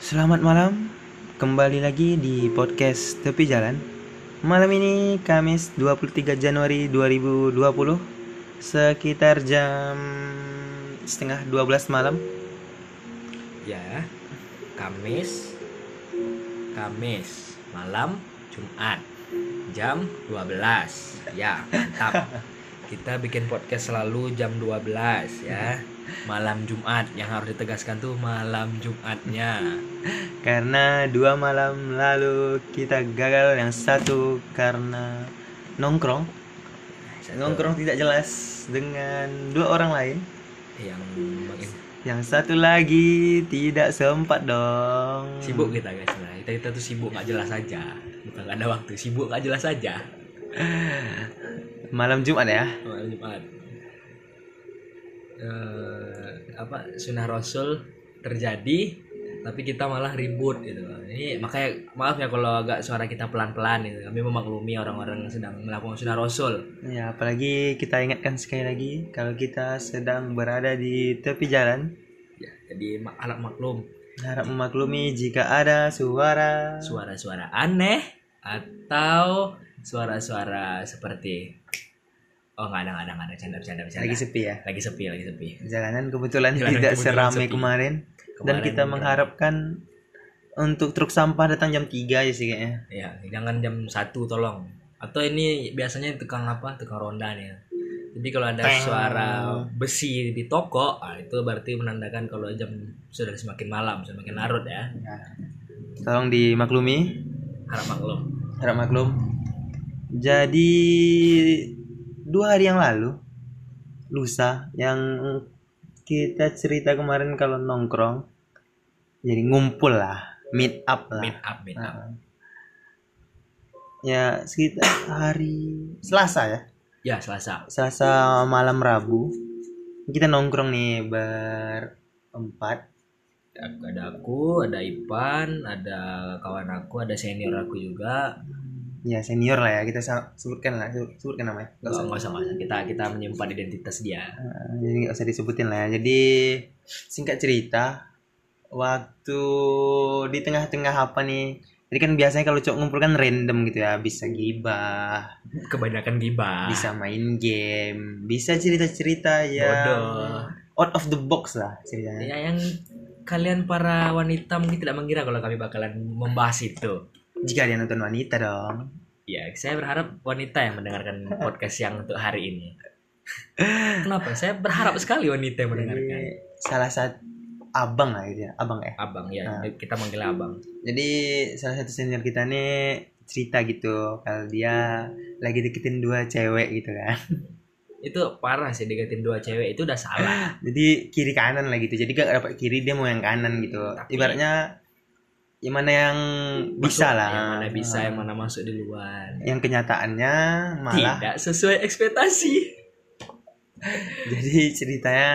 Selamat malam, kembali lagi di podcast Tepi Jalan Malam ini Kamis 23 Januari 2020 Sekitar jam setengah 12 malam Ya, Kamis, Kamis, malam, Jumat, jam 12. Ya, mantap. Kita bikin podcast selalu jam 12 ya. Malam Jumat yang harus ditegaskan tuh malam Jumatnya. Karena dua malam lalu kita gagal yang satu karena nongkrong Satu Nongkrong tidak jelas dengan dua orang lain yang mengin Yang satu lagi tidak sempat dong sibuk gitu. kita guys sebenarnya. Kita, kita tuh sibuk nggak jelas aja. Bukan nggak ada waktu, sibuk nggak jelas aja. Malam Jumat ya Malam Jumat. Eh, apa sunnah rasul terjadi tapi kita malah ribut gitu ini makanya maaf ya kalau agak suara kita pelan-pelan gitu kami memaklumi orang-orang yang sedang melakukan sunnah rasul Ya, apalagi kita ingatkan sekali lagi kalau kita sedang berada di tepi jalan, ya jadi ma- alat maklum harap memaklumi jika ada suara. suara-suara aneh atau suara-suara seperti oh nggak ada nggak ada nggak ada canda canda Lagi sepi ya. lagi sepi lagi sepi Jalanan kebetulan Jalanan tidak kebetulan seramai sepi. kemarin, dan Kemarin kita mungkin- mengharapkan untuk truk sampah datang jam 3 ya sih kayaknya. Ya, jangan jam 1 tolong. Atau ini biasanya tukang apa? Tukang ronda nih. ya. Jadi kalau ada Teng. suara besi di toko, ah, itu berarti menandakan kalau jam sudah semakin malam, semakin larut ya. Ya. Tolong dimaklumi, Harap maklum. harap maklum. Jadi dua hari yang lalu, lusa yang kita cerita kemarin kalau nongkrong, jadi ngumpul lah, meet up lah. Meet up, meet up. Nah. Ya sekitar hari Selasa ya, Ya, Selasa. Selasa malam Rabu kita nongkrong nih berempat. Ya, Ada aku, ada Ipan, ada kawan aku, ada senior aku juga. Ya senior lah ya kita sa- sebutkan lah, sebut- sebutkan namanya. Nggak Nggak usah, usah, nggak usah, nggak usah. Kita kita menyimpan identitas dia. Eh, jadi nggak usah disebutin lah ya. Jadi singkat cerita, waktu di tengah-tengah apa nih? Jadi kan biasanya kalau cowok ngumpul kan random gitu ya, bisa gibah, Kebanyakan gibah. bisa main game, bisa cerita-cerita yang Bodoh. out of the box lah ceritanya. Ya, yang kalian para wanita mungkin tidak mengira kalau kami bakalan membahas itu. Jika dia nonton wanita dong. Ya, saya berharap wanita yang mendengarkan podcast yang untuk hari ini. Kenapa? Saya berharap sekali wanita yang mendengarkan. Jadi salah satu abang lah gitu ya, abang ya. Abang ya, kita manggil abang. Jadi salah satu senior kita nih cerita gitu kalau dia lagi deketin dua cewek gitu kan. Itu parah sih deketin dua cewek itu udah salah. Jadi kiri kanan lah gitu. Jadi gak dapat kiri dia mau yang kanan gitu. Tapi- Ibaratnya yang mana yang bisa Masuk, lah. Yang mana bisa, yang mana masuk di luar. Yang kenyataannya malah Tidak sesuai ekspektasi. Iya. Jadi ceritanya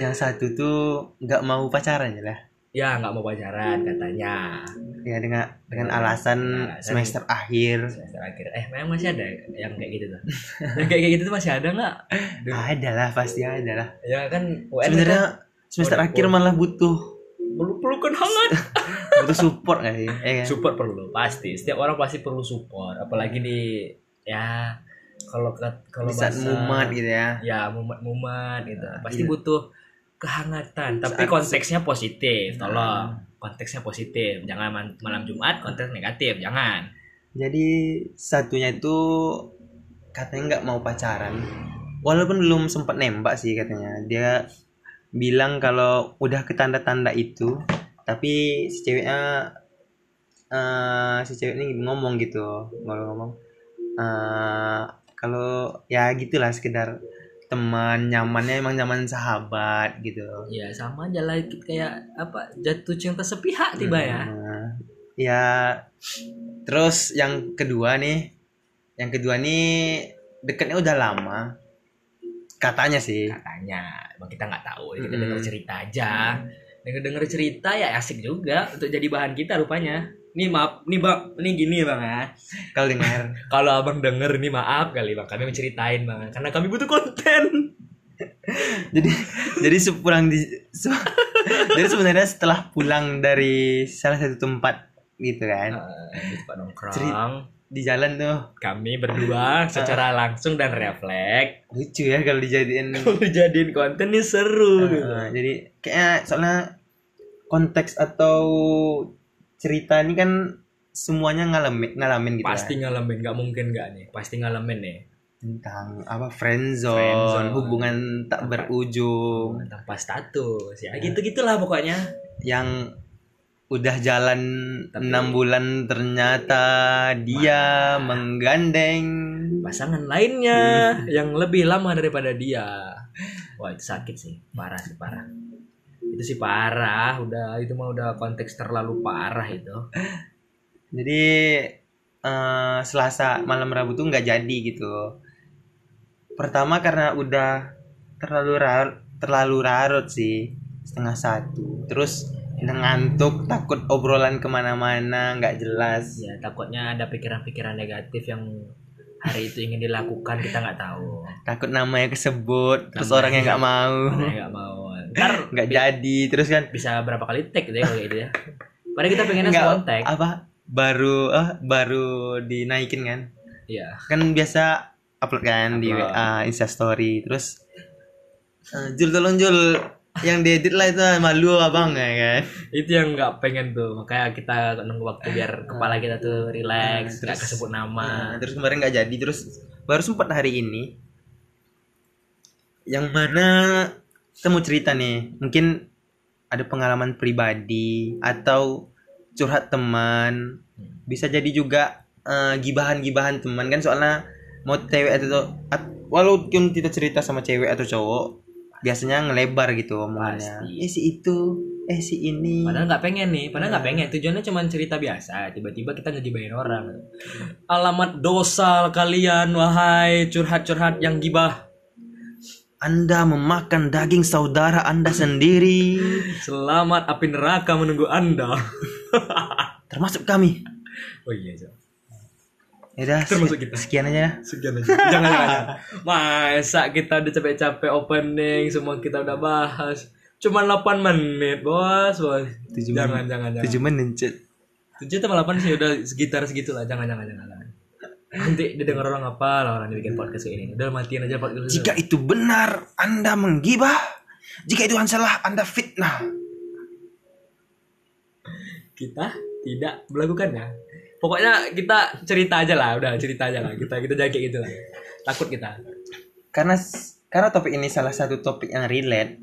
yang satu tuh nggak mau pacaran ya lah. Ya, nggak mau pacaran katanya. Ya dengan dengan alasan Alasan- semester akhir. Semester akhir. Eh, memang masih ada yang kayak gitu tuh. yang kayak kayak gitu tuh masih ada nggak? Duh. Ada lah pasti ada lah. Ya kan, UN kan Sebenarnya semester Udah, akhir udah. malah butuh perlu kan pelukan hangat. butuh support kali. Ya, kan? support perlu pasti setiap orang pasti perlu support apalagi di ya kalau ke- kalau Di saat bahasa- mumat gitu ya. ya mumat mumat gitu Nah, pasti iya. butuh kehangatan tapi Saat- konteksnya positif Nah. Iya, tolong konteksnya positif jangan man- malam jumat konteks negatif jangan Jadi satunya itu katanya nggak mau pacaran. Walaupun belum sempat nembak sih katanya. Dia bilang kalau udah ke tanda-tanda itu, tapi si ceweknya eh si cewek ini ngomong gitu, kalau ngomong eh kalau ya gitulah sekedar teman nyamannya emang nyaman sahabat gitu. ya sama aja lah itu kayak apa jatuh cinta sepihak tiba ya Hmm. Ya. Terus yang kedua nih. Yang kedua nih dekatnya udah lama. Katanya sih. katanya emang kita nggak tahu kita Mm-mm. dengar cerita aja denger dengar Hmm. cerita ya asik juga untuk jadi bahan kita rupanya nih maaf nih bang nih gini bang ya Kalau dengar Kalau abang denger nih maaf kali bang, kami menceritain bang, karena kami butuh konten. jadi jadi sepulang di se- Jadi sebenarnya setelah pulang dari salah satu tempat gitu Ya, kan, di tempat nongkrong Cerit- di jalan tuh kami berdua secara langsung dan refleks lucu ya kalau dijadiin. jadiin konten ini seru gitu. Nah, jadi kayaknya soalnya konteks atau cerita ini kan semuanya ngalamin ngalamin gitu pasti kan. ngalamin nggak mungkin nggak nih pasti ngalamin nih tentang apa friendzone, Friendzone. hubungan tak Apa? berujung tanpa status ya gitu gitulah pokoknya yang udah jalan Tapi- enam bulan ternyata dia menggandeng pasangan lainnya yang lebih lama daripada dia wah itu sakit sih parah sih parah itu sih parah udah itu mah udah konteks terlalu parah itu jadi eh, selasa malam rabu tuh nggak jadi gitu pertama karena udah terlalu rarut terlalu larut sih setengah satu terus udah ngantuk takut obrolan kemana-mana nggak jelas ya takutnya ada pikiran-pikiran negatif yang hari itu ingin dilakukan kita nggak tahu takut namanya kesebut terus Namanya. orangnya nggak mau Karena nggak mau ntar nggak jadi terus kan bisa berapa kali take gitu ya kalau gitu ya padahal kita pengennya Nggak. satu take apa baru eh, baru dinaikin kan iya kan biasa upload kan di Upload. WA Insta Story terus eh, jul tolong jul yang diedit lah itu malu abang ya kan itu yang nggak pengen tuh makanya kita nunggu waktu biar kepala kita tuh relax nggak kesebut Nah, nama terus kemarin nggak jadi terus baru sempat hari ini yang mana kita mau cerita nih mungkin ada pengalaman pribadi atau curhat teman Hmm. bisa jadi juga eh, gibahan-gibahan teman kan soalnya mau cewek atau at- walaupun kita cerita sama cewek atau cowok biasanya ngelebar gitu omongannya Pasti. eh si itu eh si ini padahal nggak pengen nih padahal nggak pengen tujuannya cuma cerita biasa tiba-tiba kita ngegibahin orang alamat dosa kalian wahai curhat-curhat yang gibah anda memakan daging saudara anda sendiri selamat api neraka menunggu anda termasuk kami oh iya Cok. ya udah Termasuk kita. sekian aja ya. sekian aja jangan jangan masa kita udah capek-capek opening semua kita udah bahas cuma 8 menit bos bos Tujuh jangan jangan jangan tujuh menit Cet. 7 atau 8 sih udah sekitar segitulah jangan jangan jangan jangan. nanti didengar orang apa lah orang yang bikin podcast kayak ini udah matiin aja podcast itu. jika itu benar anda menggibah jika itu salah anda fitnah kita tidak melakukannya pokoknya kita cerita aja lah udah cerita aja lah kita kita jaga gitu lah takut kita karena karena topik ini salah satu topik yang relate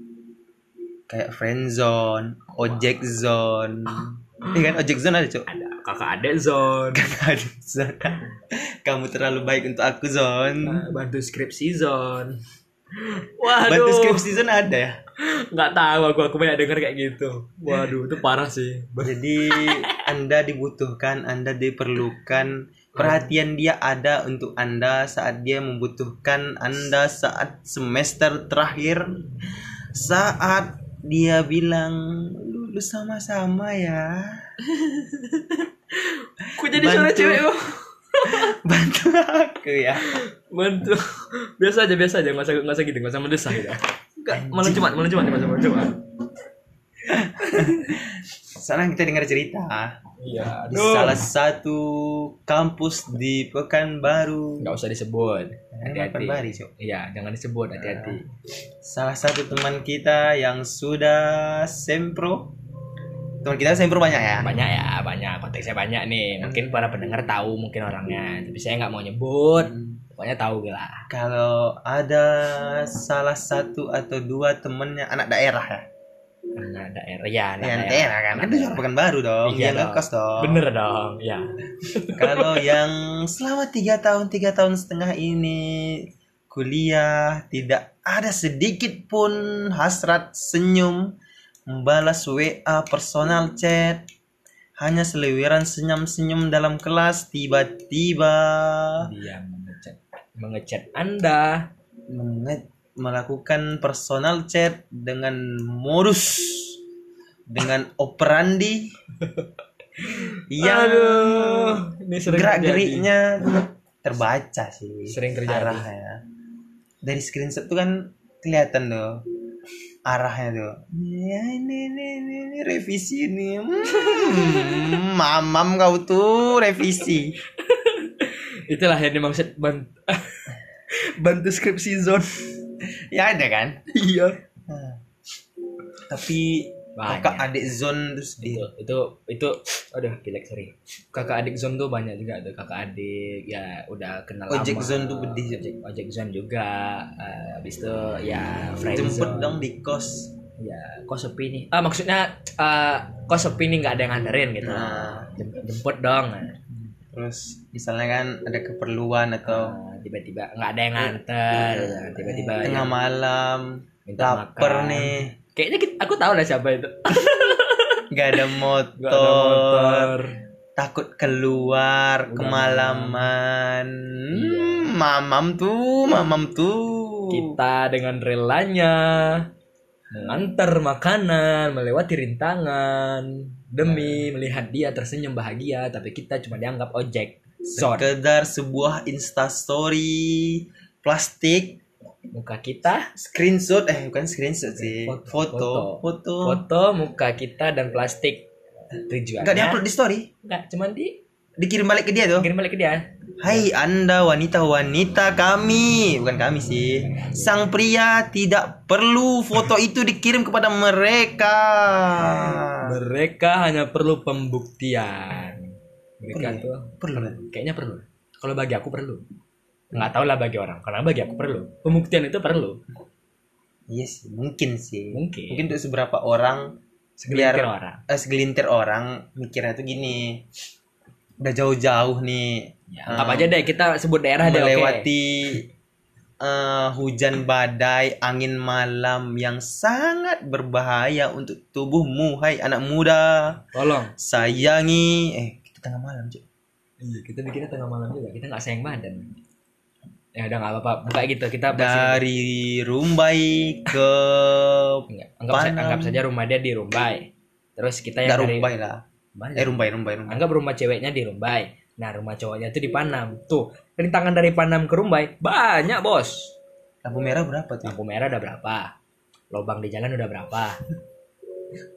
kayak friend zone ojek zone Iya kan ojek zone ada cok ada kakak adek zone Ada zone. kamu terlalu baik untuk aku zone bantu skripsi zone waduh bantu skripsi zone ada ya nggak tahu aku aku banyak dengar kayak gitu waduh itu parah sih Jadi Anda dibutuhkan, Anda Hmm. diperlukan Perhatian dia ada untuk Anda saat dia membutuhkan Anda saat semester terakhir Saat dia bilang lulus sama-sama ya aku jadi suara Bantu. cewek kok Bantu aku ya bantu biasa aja biasa aja nggak usah nggak usah gitu nggak usah mendesah gitu nggak malah cuma malah cuma malah cuma Sekarang kita dengar cerita iya Di aduh. salah satu kampus di Pekanbaru nggak usah disebut Pekanbaru, hati-hati Cok. iya jangan disebut hati-hati Salah satu teman kita yang sudah sempro Teman kita sempro banyak ya banyak ya banyak konteksnya banyak nih mungkin para pendengar tahu mungkin orangnya tapi saya nggak mau nyebut pokoknya tahu lah Kalau ada salah satu atau dua temennya anak daerah ya, anak daerah ya anak anak daerah. daerah kan, kan itu juga bukan baru dong, Iya yang dong. ngekos dong. bener dong ya Kalau yang selama tiga tahun tiga tahun setengah ini kuliah tidak ada sedikit pun hasrat senyum membalas WA personal chat hanya seliweran senyum-senyum dalam kelas tiba-tiba dia mengecat mengecat anda menge- melakukan personal chat dengan modus dengan operandi yang Aduh, Iya. ini sering gerak terjadi. geriknya terbaca sih Sering terjadi. arahnya dari screenshot tuh kan kelihatan tuh arahnya tuh ya ini ini ini, ini revisi ini hmm, mamam kau tuh revisi Itulah yang dimaksud bantu, bantu skripsi zone. ya ada kan iya. Nah. tapi Banyak. kakak adik zon terus di Itu Iya, itu itu aduh pilek sorry. Kakak adik zone tuh banyak juga tuh kakak adik ya udah kenal Ojek lama. zone tuh pedih. Ojek, ojek zone juga. Eh, habis itu ya friend jemput zone. dong di kos Ya, kok sepi nih? Ah maksudnya eh, kok sepi nih nggak ada yang nganterin gitu. Nah. Jem- Jemput dong. Eh, terus misalnya kan ada keperluan atau Eh, tiba-tiba nggak ada yang nganter. Tiba-tiba ya, Iya. tengah malam minta lapar makan. nih Kayaknya kita, aku tahu lah siapa itu. nggak ada Gak ada motor motor. takut keluar Udah kemalaman Hmm, mamam tuh mamam tuh Kita dengan relanya Nah. mengantar makanan, melewati rintangan demi melihat dia tersenyum bahagia, tapi kita cuma dianggap ojek. Zon. sekedar sebuah instastory plastik Muka kita, screenshot eh bukan screenshot sih Foto. foto foto, foto muka kita dan plastik. Tujuannya nggak diupload di story Enggak, cuman di dikirim balik ke dia tuh kirim balik ke dia. Hai anda wanita-wanita kami Bukan kami sih Sang pria tidak perlu foto itu dikirim kepada mereka Mereka hanya perlu pembuktian. Mereka Perlu. tuh Perlu kayaknya perlu kalau bagi aku perlu nggak tahu lah bagi orang karena bagi aku perlu pembuktian itu perlu Iya sih mungkin sih Mungkin. untuk seberapa orang segelintir Biar- orang eh, Segelintir orang mikirnya tuh gini Udah jauh-jauh nih ya, anggap eh, aja deh kita sebut daerah deh oke. Melewati eh, hujan badai Angin malam yang sangat berbahaya Untuk tubuhmu Hai anak muda tolong sayangi eh kita tengah malam cok iya kita bikinnya tengah malam juga kita nggak sayang badan ya udah nggak apa-apa buka gitu kita pasti dari Rumbai ke Nggak, anggap, sa- Panang. anggap saja rumah dia di Rumbai terus kita nggak yang dari Rumbai lah Mana? eh Rumbai Rumbai Rumbai anggap rumah ceweknya di Rumbai nah rumah cowoknya itu di Panam tuh rintangan dari Panam ke Rumbai banyak bos lampu merah berapa tuh lampu merah udah berapa lobang di jalan udah berapa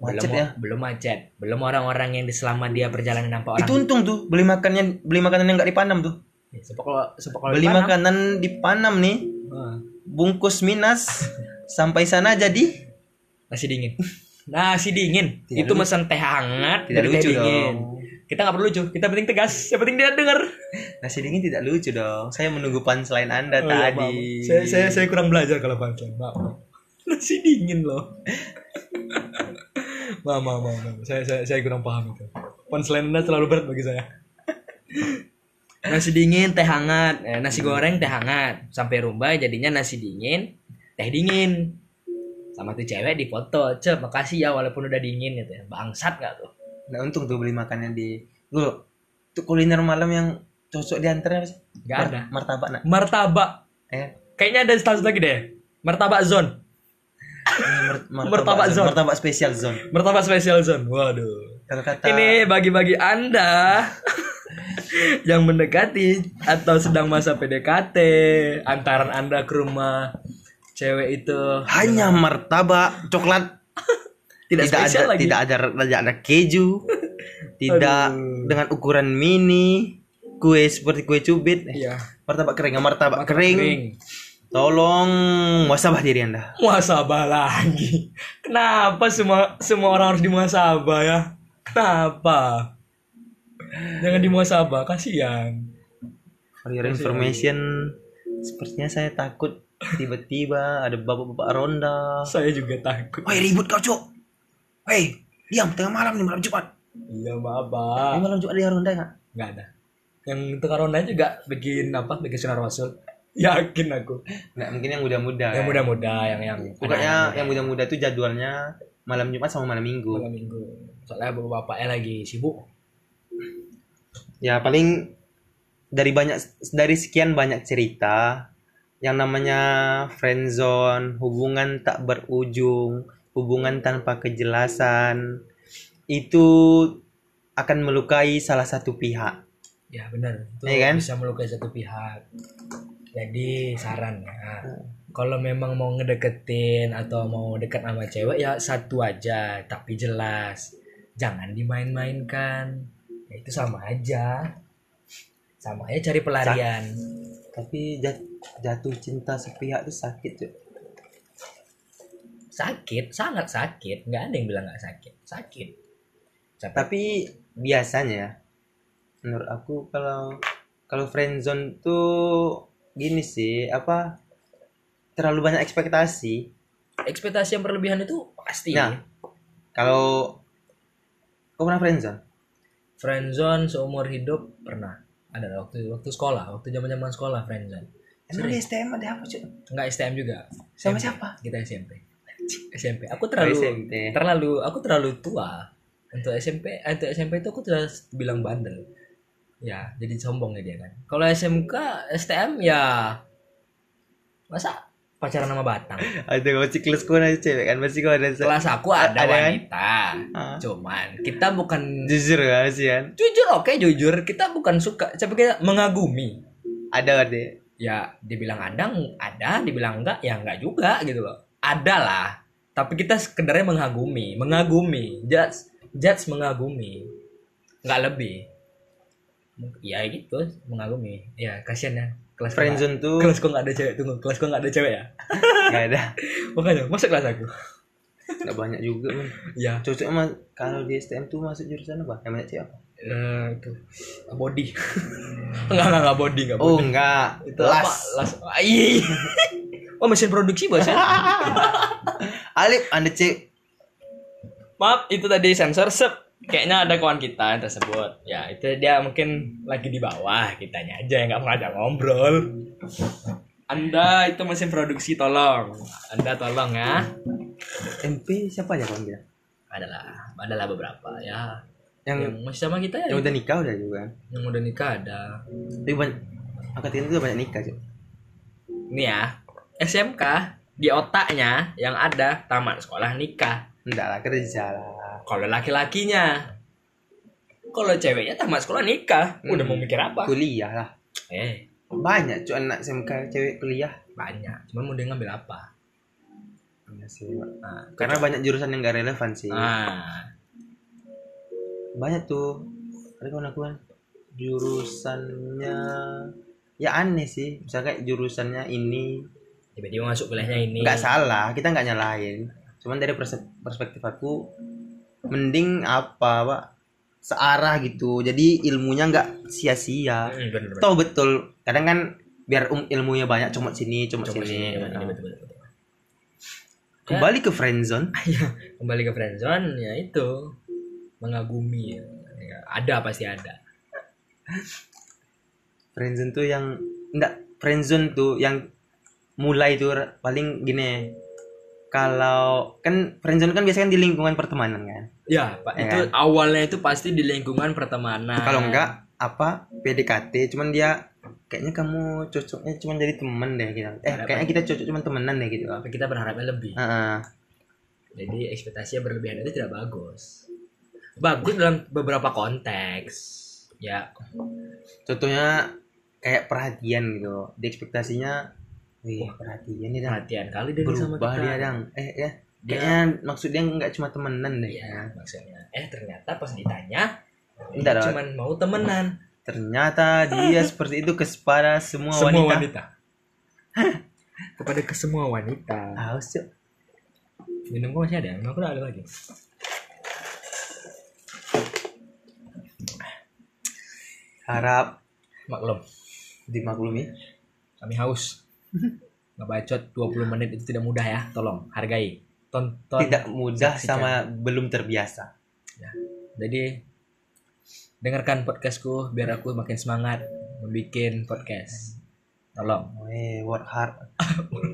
macet belum, ya belum macet belum orang-orang yang di selama dia perjalanan nampak orang itu untung tuh beli makannya beli makanan yang nggak dipanam tuh Ya, sepok kalau sepok kalau beli di Panam. makanan dipanam nih Ah, bungkus minas sampai sana jadi nasi dingin nasi dingin Tidak itu mesen teh tidak hangat dari lucu teh dingin dong kita nggak perlu lucu kita penting tegas yang penting dia denger nasi dingin tidak lucu dong saya menunggu punchline anda Oh, iya, tadi maaf. saya, saya saya kurang belajar kalau panjang maaf nasi dingin loh maaf maaf maaf maaf. saya saya saya kurang paham itu punchline anda terlalu berat bagi saya nasi dingin teh hangat Eh, nasi goreng teh hangat sampai rumah jadinya nasi dingin teh dingin sama tuh cewek di foto cep makasih ya walaupun udah dingin gitu ya bangsat gak tuh nah untung tuh beli makannya di lu tuh kuliner malam yang cocok diantar apa sih Nggak Mar- ada. martabak nak martabak eh kayaknya ada status lagi deh martabak zone Mer- Martabak zone. zone. martabak spesial zone martabak special zone waduh kalau kata Ini bagi-bagi Anda yang mendekati atau sedang masa PDKT, antaran Anda ke rumah cewek itu hanya martabak coklat tidak ada tidak, spesial lagi. tidak ada tidak ada keju tidak Aduh. dengan ukuran mini kue seperti kue cubit Eh, Iya. martabak kering ya, martabak, kering. Ring. tolong wasabah diri anda Muhasabah lagi. Kenapa semua semua orang harus dimuhasabah ya? Kenapa? Jangan dimuhasabah, kasihan. for your information sepertinya saya takut tiba-tiba ada bapak-bapak ronda Saya juga takut. Woi ribut kau cok. Woi diam tengah malam nih malam Jumat. Ini Iya, Bapak. malam Jumat dia ronda nggak? Enggak ada. Yang tukar ronda juga bikin apa? Bikin sunar rasul. Yakin aku. Nggak mungkin yang Nah, muda-muda. ya. yang muda-muda Ya, yang yang Iya. Pokoknya yang muda-muda itu jadwalnya malam Jumat sama malam Minggu. malam minggu soalnya bapak bapaknya lagi sibuk Ya paling dari banyak dari sekian banyak cerita yang namanya friendzone, hubungan tak berujung, hubungan tanpa kejelasan itu akan melukai salah satu pihak. ya benar itu Iya kan? Iya. bisa melukai satu pihak jadi saran ya. kalau memang mau ngedeketin atau mau dekat sama cewek ya satu aja tapi jelas jangan dimain-mainkan Ya, itu sama aja sama aja cari pelarian tapi jat- jatuh cinta sepihak tuh sakit tuh sakit sangat sakit nggak ada yang bilang nggak sakit sakit Sampai- tapi biasanya menurut aku kalau kalau friendzone tuh gini sih apa terlalu banyak ekspektasi ekspektasi yang berlebihan itu pasti Nah. kalau kau pernah friendzone friendzone seumur hidup pernah ada waktu waktu sekolah waktu zaman zaman sekolah friendzone emang di STM ada apa cuy nggak STM juga sama SMP. siapa Oh, kita SMP SMP aku terlalu SMP. terlalu aku terlalu tua untuk SMP eh, untuk SMP itu aku sudah bilang bandel ya jadi sombong ya dia kan kalau SMK STM ya masa pacaran sama Batang ada kau ciklus kau ada cewek kan pasti kau ada se- kelas aku ada, Ada kan? wanita Ah. cuman kita bukan jujur kan sih kan jujur oke jujur kita bukan suka tapi kita mengagumi ada ada ya dibilang ada ng- ada dibilang enggak ya enggak juga gitu loh ada lah tapi kita sekedarnya mengagumi mengagumi judge judge mengagumi nggak lebih ya gitu mengagumi ya kasihan ya kelas gua- friendzone tuh kelas gua nggak ada cewek tunggu kelas gua nggak ada cewek ya nggak ada makanya masa kelas aku nggak banyak juga men ya cocoknya mas kalau di STM tuh masuk jurusan apa yang banyak cewek apa eh, itu body enggak enggak enggak body enggak oh enggak itu las las las Ah, iya, Ih. oh mesin produksi bahasa Alif anda cek maaf itu tadi sensor sep kayaknya ada kawan kita yang tersebut ya itu dia mungkin lagi di bawah kitanya aja yang nggak mengajak ngobrol anda itu mesin produksi tolong anda tolong ya MP siapa aja kawan kita adalah adalah beberapa ya yang yang masih sama kita yang ya udah nikah udah juga kan yang udah nikah ada tapi banyak angkat tiga itu banyak nikah cuy nih ya SMK di otaknya yang ada tamat sekolah nikah enggak lah kerja lah kalau laki-lakinya kalau ceweknya tamat sekolah nikah udah mau mikir apa kuliah lah eh banyak cuy anak SMK cewek kuliah banyak cuman mau dia ngambil apa Iya sih, Ah. Pak. nah, karena banyak jurusan yang gak relevan sih nah banyak tuh ada kawan aku kan jurusannya ya aneh sih misalnya kayak jurusannya ini tiba-tiba masuk kuliahnya ini nggak salah kita nggak nyalahin cuman dari perse- perspektif aku mending apa pak searah gitu jadi ilmunya nggak sia-sia Hmm, bener, bener. Tahu betul kadang kan biar um, ilmunya banyak comot sini comot Coba sini, sini, coba Nah, sini, betul, betul, betul. kembali ke friendzone kembali ke friendzone ya itu mengagumi ya. Ya, ada pasti ada friendzone tuh yang enggak friendzone tuh yang mulai tuh ra- paling gini kalau kan friendzone kan biasanya kan di lingkungan pertemanan kan ya pak Ya itu awalnya itu pasti di lingkungan pertemanan kalau enggak apa PDKT cuman dia kayaknya kamu cocoknya cuman jadi temen deh gitu eh Harapan. kayaknya kita cocok cuman temenan deh gitu tapi kita berharapnya lebih Heeh. jadi ekspektasinya berlebihan itu tidak bagus bagus dalam beberapa konteks ya contohnya kayak perhatian gitu di ekspektasinya wih perhatian nih dang perhatian kali dia sama Ya. berubah kita dia dang eh ya Dia- kayaknya maksudnya nggak cuma temenan deh kan? Iya, maksudnya. Eh, ternyata pas ditanya, Bentar, Dok. cuman mau temenan Ternyata dia seperti itu kepada semua, semua wanita. wanita. Kepada ke semua wanita. Haus, Cuk. Minum gua masih ada, minum aku udah ada lagi. Harap Maklum, dimaklumi. kami haus. Ngebacot 20 menit itu tidak mudah ya, tolong hargai. Tonton. Tidak mudah Saksikan. sama belum terbiasa. Jadi dengarkan podcastku biar aku makin semangat membuat podcast. Tolong. Weh, work hard.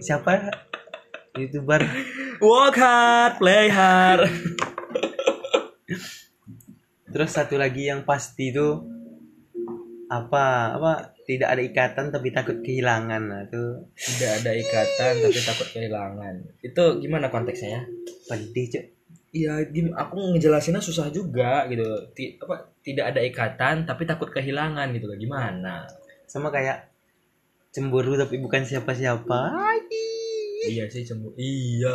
Siapa ya? YouTuber. Work hard, play hard. Terus satu lagi yang pasti itu apa? Apa tidak ada ikatan tapi takut kehilangan. Nah, itu tidak ada ikatan tapi takut kehilangan itu gimana konteksnya ya pedih, Cuk. Iya, gim- aku ngejelasinnya susah juga gitu. Ti- apa tidak ada ikatan tapi takut kehilangan gitu loh. Gimana? Sama kayak cemburu tapi bukan siapa-siapa. Ai. iya sih cemburu iya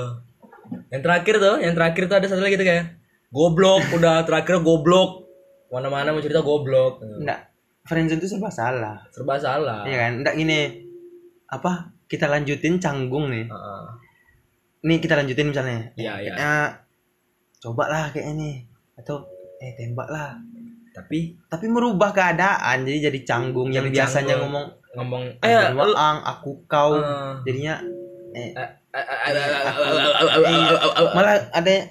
yang terakhir tuh yang terakhir tuh ada satu lagi tuh kayak goblok udah terakhir goblok mana-mana mau cerita goblok Nggak, friendzone itu serba salah. serba salah Iya kan? Nggak gini. Apa? Kita lanjutin canggung nih. Heeh. Nih kita lanjutin misalnya. Ya, Iya, iya. coba lah kayaknya nih. Atau eh tembak lah. tapi Tapi merubah keadaan jadi jadi canggung yang Jadi biasanya canggung. ngomong ngomong eh eh lu- aku kau Eh. jadinya eh Eh, eh, eh, eh, eh, eh, eh, eh, eh, eh. malah ada yang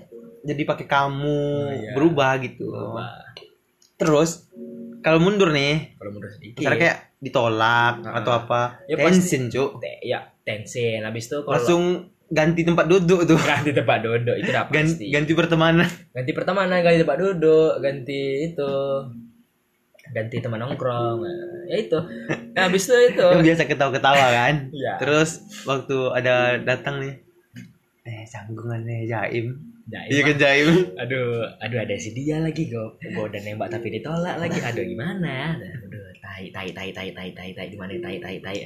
jadi pakai kamu iya. berubah gitu. Wah, Terus kalau mundur nih, kalau mundur sedikit misalnya kayak ditolak Ah. atau apa, Iya. Ya, pasti. tensin cuk. Te- ya tensin habis itu kalau Langsung ganti tempat duduk tuh. ganti tempat duduk itu udah Gan- pasti ganti pertemanan. ganti pertemanan ganti tempat duduk ganti itu ganti teman nongkrong ya itu nah, habis itu itu Yang biasa ketawa-ketawa kan. Iya. Terus waktu ada datang nih. Eh, canggungan nih Jaim. Nah, Iya kan Jaim. aduh aduh ada si dia lagi kok gue udah nembak tapi ditolak lagi aduh gimana aduh tai tai tai tai tai tai tai gimana tai tai tai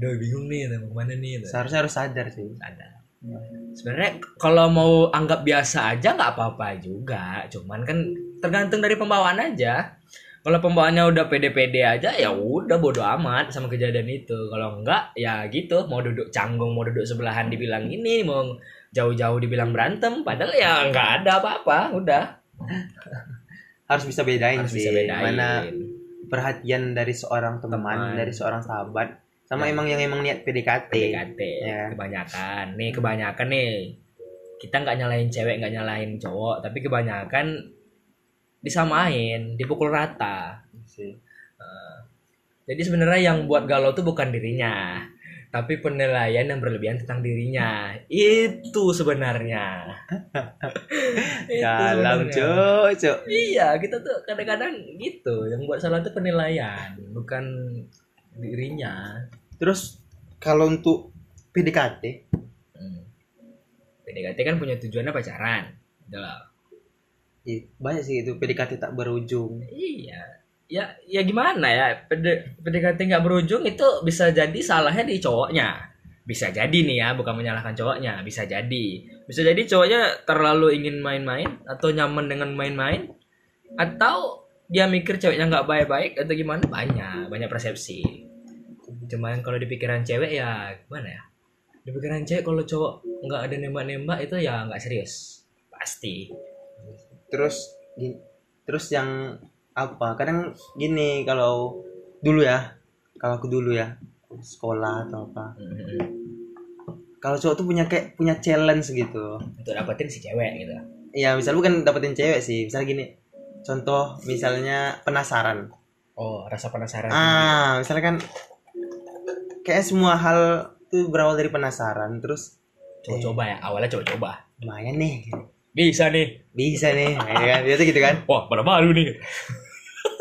aduh bingung nih mau kemana nih gitu. Seharusnya harus sadar sih. ada sebenarnya kalau mau anggap biasa aja nggak apa-apa juga cuman kan tergantung dari pembawaan aja kalau pembawaannya udah pede-pede aja ya udah bodo amat sama kejadian itu kalau enggak ya gitu mau duduk canggung mau duduk sebelahan dibilang ini mau jauh-jauh dibilang berantem padahal ya nggak ada apa-apa udah Harus bisa bedain harus sih. bisa bedain Mana perhatian dari seorang teman, Teman. dari seorang sahabat sama Ya. emang yang emang niat PDKT. PDKT Ya. kebanyakan nih kebanyakan nih kita nggak nyalain cewek nggak nyalain cowok tapi kebanyakan disamain dipukul rata Sih. jadi sebenarnya yang buat galau tuh bukan dirinya tapi penilaian yang berlebihan tentang dirinya itu sebenarnya Itu Dalam sebenarnya. cuk, cuk. iya kita tuh kadang-kadang gitu yang buat salah tuh penilaian bukan dirinya Terus kalau untuk PDKT, hmm. PDKT kan punya tujuannya pacaran Udah lah. ya, banyak sih itu PDKT tak berujung. Iya. Ya, ya gimana ya? PD, PDKT nggak berujung itu bisa jadi salahnya di cowoknya. Bisa jadi nih ya, bukan menyalahkan cowoknya. Bisa jadi. Bisa jadi cowoknya terlalu ingin main-main atau nyaman dengan main-main atau dia mikir ceweknya nggak baik-baik atau gimana banyak banyak persepsi cuman kalau di pikiran cewek ya gimana ya di pikiran cewek kalau cowok nggak ada nembak-nembak itu ya nggak serius pasti Terus gi- terus yang apa? Kadang gini kalau dulu ya, kalau aku dulu ya sekolah atau apa. Mm-mm. Kalau cowok tuh punya kayak punya challenge gitu. untuk dapetin si cewek gitu Ya misal bukan dapetin cewek sih, misal gini. Contoh misalnya penasaran. Oh, rasa penasaran. Ah, misalkan kayak semua hal tuh berawal dari penasaran, terus Coba-coba iya. ya, awalnya coba-coba. lumayan nih, Bisa nih. bisa nih, ya kan? Biasa gitu kan, Wah, pada baru nih.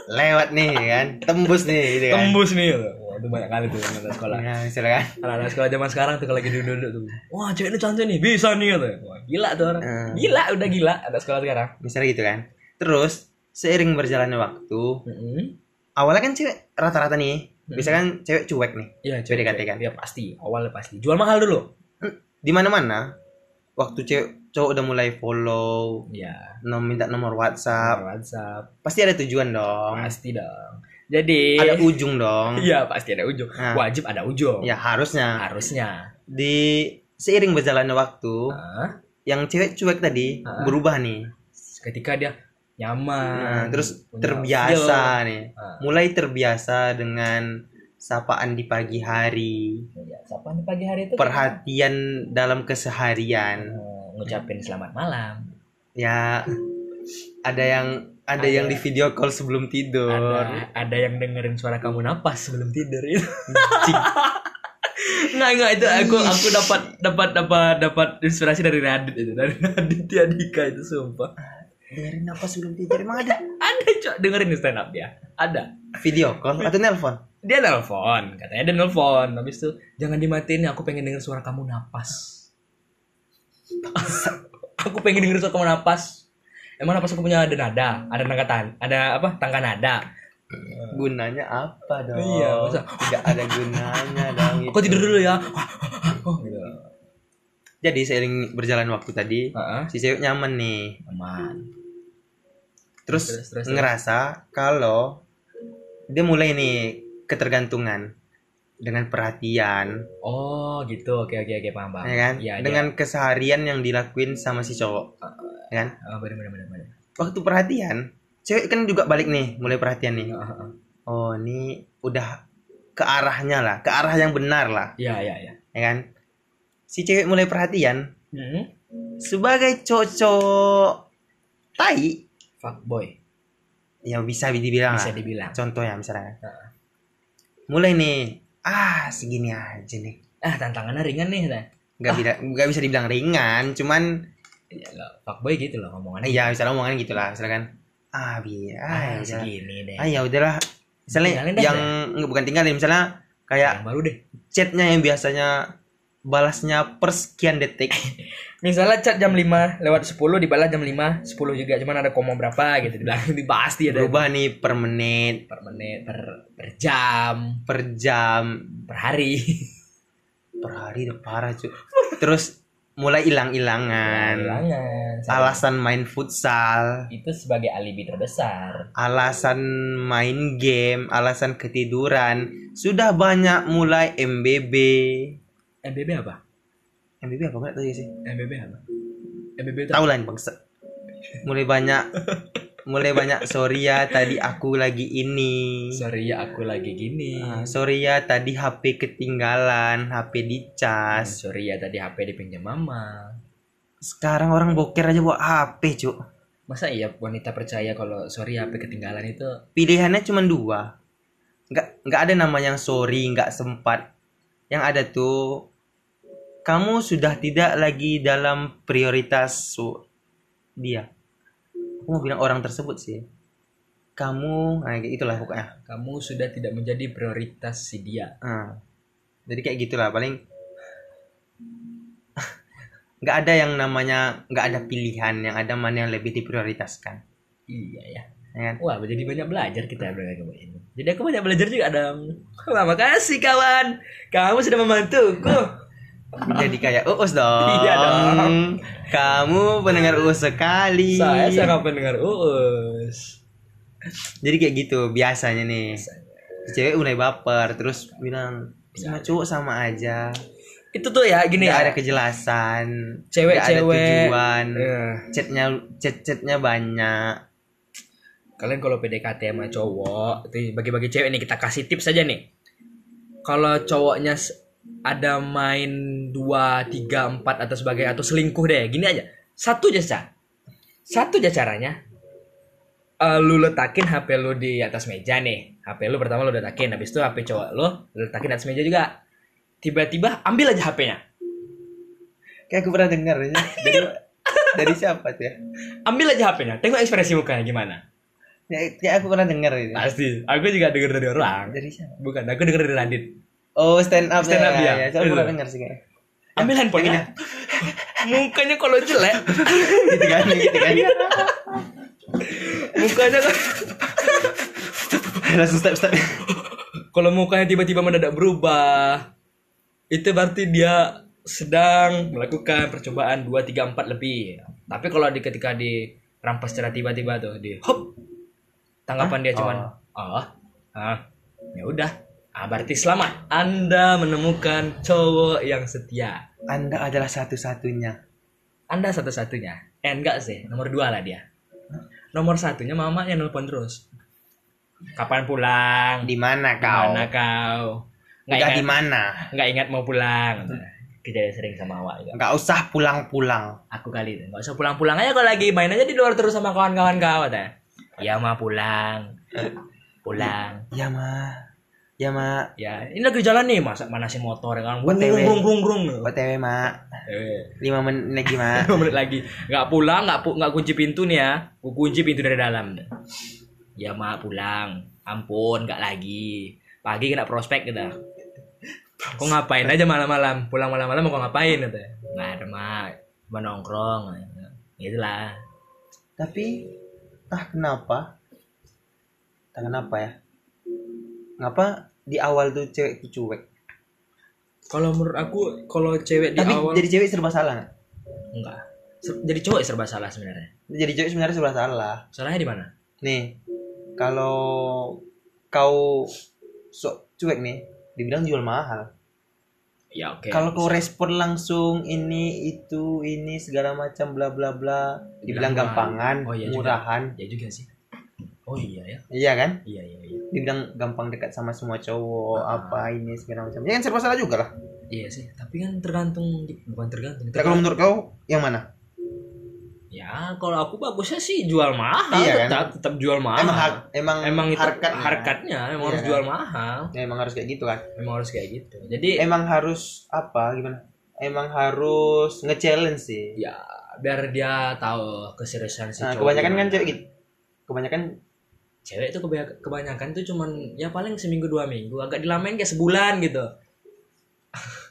lewat nih, ya kan, tembus nih, gitu kan. Tembus nih. Wah, itu banyak kali tuh anak sekolah. Nah, misalkan, Anak-anak sekolah zaman sekarang tuh kalau lagi duduk-duduk tuh. Wah, cewek ini cantik nih. Bisa nih. Gitu. Wah, gila tuh orang. Hmm. Gila, udah gila anak sekolah sekarang. misalnya gitu kan. Terus seiring berjalannya waktu, Hmm. awalnya kan cewek rata-rata nih, misalkan cewek cuek nih, Iya, cewek dikatakan. Ya pasti, awalnya pasti. Jual mahal dulu. Di mana-mana, waktu cewek cowok udah mulai follow, Iya. nom minta nomor WhatsApp, WhatsApp. pasti ada tujuan dong, Pasti dong. Jadi ada ujung dong. Iya, pasti ada ujung. Nah. Wajib ada ujung. Ya harusnya. Harusnya. di seiring berjalannya waktu Hah? yang cewek cuek tadi Ah. berubah nih Ketika dia Nah, nyaman, terus punya terbiasa feel. nih Ah. mulai terbiasa dengan sapaan di pagi hari Ya, sapaan di pagi hari itu perhatian dalam keseharian Eh, ngucapin selamat malam. ya ada yang ada, Ada. yang di video call sebelum tidur Ada, ada yang dengerin suara kamu napas sebelum tidur itu. nggak nggak itu aku aku dapat dapat dapat dapat inspirasi dari Radit itu dari Raditya Dika itu sumpah. dengerin apa sebelum tidur emang ada Ada cok dengerin di stand up ya. Ada. video call atau nelpon Dia nelpon, katanya dia nelpon. Habis itu jangan dimatiin, ya, aku pengen denger suara kamu napas. aku pengen denger suara kamu napas. Emang napas aku punya ada nada, ada nada tan- ada apa? Tangga nada. gunanya apa dong Iya, masa- tidak ada gunanya dong gitu. Gitu. Aku tidur dulu ya. oh gitu Jadi seiring berjalan waktu tadi, Heeh. si cewek nyaman nih. aman Terus, Terus, terus, terus. ngerasa kalau dia mulai nih ketergantungan dengan perhatian, oh gitu oke oke oke paham paham ya kan? Iya, iya. dengan keseharian yang dilakuin sama si cowok, ya kan? Oh, bener bener bener bener Waktu perhatian, cewek kan juga balik nih, mulai perhatian nih. Iya, Heeh, heeh. Oh, ini udah ke arahnya lah, ke arah yang benar lah, iya iya iya ya kan? Si cewek mulai perhatian hmm? sebagai cocok tai fuckboy yang bisa dibilang bisa lah. dibilang Contohnya misalnya. Heeh. Mulai nih, ah segini aja nih. ah tantangannya ringan nih nah Gak, bila- nggak bisa dibilang ringan, cuman Iya, loh, fuckboy gitu loh ngomongannya ya misalnya omongan gitulah, misalkan ah bi, ah, ah, ya udahlah. segini deh ah ya udahlah. Misalnya Tinggalin deh, yang nggak bukan tinggalin misalnya kayak yang baru deh chatnya yang biasanya balasnya per sekian detik Misalnya chat jam 5 lewat 10 dibalas jam 5 10 juga cuman ada komo berapa gitu dibilang dibahas dia ada berubah nih per menit, per menit per, per jam per jam, per hari per hari udah parah cuy. Terus mulai hilang-hilangan. Iya, Kehilangan. Alasan main futsal, itu sebagai alibi terbesar alasan main game, alasan ketiduran, sudah banyak mulai MBB. MBB apa? MBB apa enggak tahu ya sih? MBB apa? MBB itu Tahu lah ini bangsa. Mulai banyak mulai banyak sorry ya tadi aku lagi ini. sorry ya aku lagi gini Ah, sorry ya tadi HP ketinggalan, HP dicas. sorry ya tadi HP dipinjam mama Sekarang orang boker aja bawa HP, Cuk. masa iya wanita percaya kalau sorry HP ketinggalan itu Pilihannya cuma dua. Nggak nggak ada nama yang sorry, nggak sempat. Yang ada tuh kamu sudah tidak lagi dalam prioritas su- dia. Aku mau bilang orang tersebut sih. Kamu, nah kayak itulah pokoknya. kamu sudah tidak menjadi prioritas si dia Ah. Jadi kayak gitulah paling nggak ada yang namanya nggak ada pilihan yang ada mana yang lebih diprioritaskan iya ya ya kan? Wah, jadi banyak belajar kita dari kamu ini. Jadi aku banyak belajar juga, Adam. Wah, makasih kawan. Kamu sudah membantuku. jadi kayak uus dong Iya dong. kamu pendengar uus sekali Saya sangat pendengar Uus. jadi kayak gitu biasanya nih cewek mulai baper terus bilang sama Iya. cowok sama aja Itu tuh ya gini nggak ya. ada kejelasan nggak ada Cewek-cewek. tujuan Eh, chatnya chat chatnya banyak Kalian kalau PDKT sama cowok, itu bagi-bagi cewek nih kita kasih tips aja nih. Kalau cowoknya s- ada main 2, 3, 4 atau sebagai atau selingkuh deh, gini aja. Satu aja, Sa. Satu aja caranya. Eh, lu letakin HP lu di atas meja nih. HP lu pertama lu letakin, habis itu HP cowok lu, lu letakin atas meja juga. Tiba-tiba ambil aja HP-nya. Kayak aku pernah dengar ya. dari dari siapa tuh ya? Ambil aja HP-nya. Tengok ekspresi mukanya gimana. Kayak, Ya, kayak aku pernah dengar ini. Pasti. Aku juga denger dari orang. Dari siapa? Bukan, aku denger dari Radit. Oh, stand up Stand ya, up ya. iya. dia. ya. Saya Itu. pernah dengar sih kayaknya. Ambil handphonenya. Ya, mukanya kalau jelek, ya Gitu kan, gitu kan. Iya. mukanya kan- Langsung step step. kalau mukanya tiba-tiba mendadak berubah, itu berarti dia sedang melakukan percobaan 2 3 4 lebih. Tapi kalau di ketika di rampas secara tiba-tiba tuh di hop tanggapan dia cuman oh, ah, ya udah. Ah, berarti selamat. Anda menemukan cowok yang setia. Anda adalah satu-satunya. Anda satu-satunya. Eh enggak sih, nomor dua lah dia. Nomor satunya mama yang nelpon terus. Kapan pulang? Di mana kau? Mana kau? Nggak Udah ingat, di Hmm. mana? nggak ingat mau pulang. Kejadian sering sama awak juga. Enggak usah pulang-pulang. Aku kali itu nggak usah pulang-pulang aja kalau lagi main aja di luar terus sama kawan-kawan kau kata. Ya ma pulang, pulang. Ya mah. Ya mah. Ya ini lagi jalan nih masa mana sih motor kan? Grung OTW. grung grung grung. OTW mak. Eh. 5 menit lagi mak. 5 menit lagi nggak pulang nggak pu- nggak kunci pintu nih ya gue kunci pintu dari dalam ya mak pulang ampun nggak lagi pagi kena prospek gitu kok ngapain aja malam-malam pulang malam-malam kok ngapain gitu nggak ada mak cuma nongkrong gitulah Tapi entah kenapa. Entah kenapa ya. Ngapa di awal tuh cewek tuh cuek. Kalau menurut aku kalau cewek di Tapi awal jadi cewek serba salah nggak? enggak. Ser- Jadi cowok ya serba salah sebenarnya. Jadi cewek sebenarnya serba salah. Salahnya di mana? Nih, kalau kau sok cuek nih, dibilang jual mahal. Ya oke. kalau kau bisa. respon langsung ini itu ini segala macam bla bla bla, dibilang Dibilang mahal. gampangan, Oh, iya juga. murahan, Ya juga sih. Oh iya ya. iya kan? Iya iya iya. Dibilang gampang dekat sama semua cowok, Ah. apa ini segala macam. Ya kan serba salah juga lah. Iya sih, tapi kan tergantung bukan tergantung. Nah, kalau tergantung. menurut kau yang mana? Ya, kalau aku bagusnya sih jual mahal Iya kan? tetap tetap jual mahal. Emang har- emang, Ah. emang itu harkat harkatnya emang Iya harus kan? jual mahal. Ya, emang harus kayak gitu kan. Emang harus kayak gitu. Jadi Emang harus apa gimana? Emang harus nge-challenge sih. ya biar dia tahu keseriusan si Nah, cowok kebanyakan kan gimana. cewek gitu. Kebanyakan Cewek itu kebaya- kebanyakan tuh cuman ya paling seminggu dua minggu, agak dilamain kayak sebulan gitu.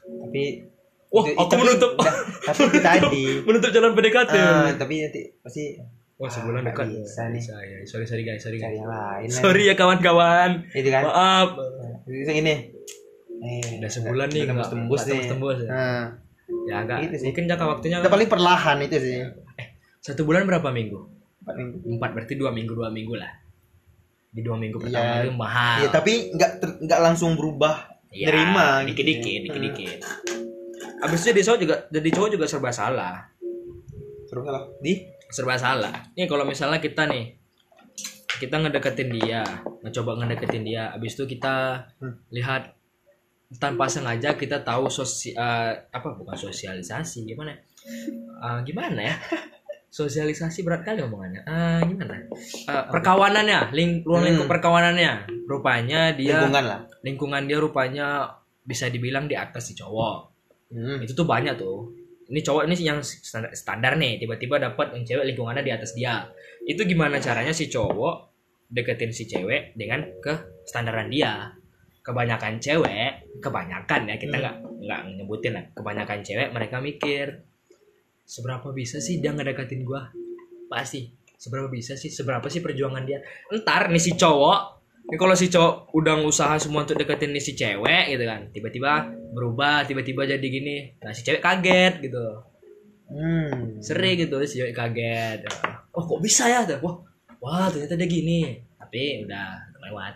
tapi Wah, itu- aku Iya, tapi- menutup nah, tapi itu tadi menutup jalan PDKT. Ah, tapi nanti pasti Wah, Ah, sebulan dekat. nggak bisa nih. ya. Sorry sorry guys, sorry cari guys. yang lain lah. Sorry ya kawan-kawan. itu kan Maaf. itu gini eh, Udah sebulan nih udah tembus nggak- tembus nggak nih tembus-tembus ya. Nah, Ya agak Gitu sih. mungkin jangka waktunya udah paling perlahan itu sih satu bulan berapa minggu? Paling- Empat berarti dua minggu dua minggu lah. Di dua minggu Iya. pertama itu mahal. ya tapi nggak ter- nggak langsung berubah Ya, nerima gitu dikit-dikit, ya. dikit-dikit. Abis itu jadi cowok juga jadi cowok juga serba salah. terus salah Ah. di serba salah. Nih kalau misalnya kita nih kita ngedeketin dia, mencoba ngedeketin dia, habis itu kita Hmm. lihat tanpa sengaja kita tahu sosi eh, apa bukan sosialisasi gimana? ya? Eh, gimana ya? Sosialisasi berat kali omongannya. Eh, gimana? Eh, perkawanannya, ling ruang lingkup Hmm. perkawanannya. Rupanya dia lingkungan. lingkungan lah dia rupanya bisa dibilang di atas si cowok Hmm. itu tuh banyak tuh ini cowok ini yang standar, standar nih tiba-tiba dapat yang cewek lingkungannya di atas dia itu gimana caranya si cowok deketin si cewek dengan ke standaran dia kebanyakan cewek kebanyakan ya kita Hmm. nggak nggak nyebutin lah kebanyakan cewek mereka mikir seberapa bisa sih dia ngedeketin gua pasti seberapa bisa sih seberapa sih perjuangan dia entar nih si cowok ini Ya, kalau si cowok udah usaha semua untuk deketin nih si cewek gitu kan tiba-tiba berubah tiba-tiba jadi gini nah si cewek kaget gitu Hmm. sering gitu si cewek kaget oh kok bisa ya wah wah ternyata dia gini tapi udah lewat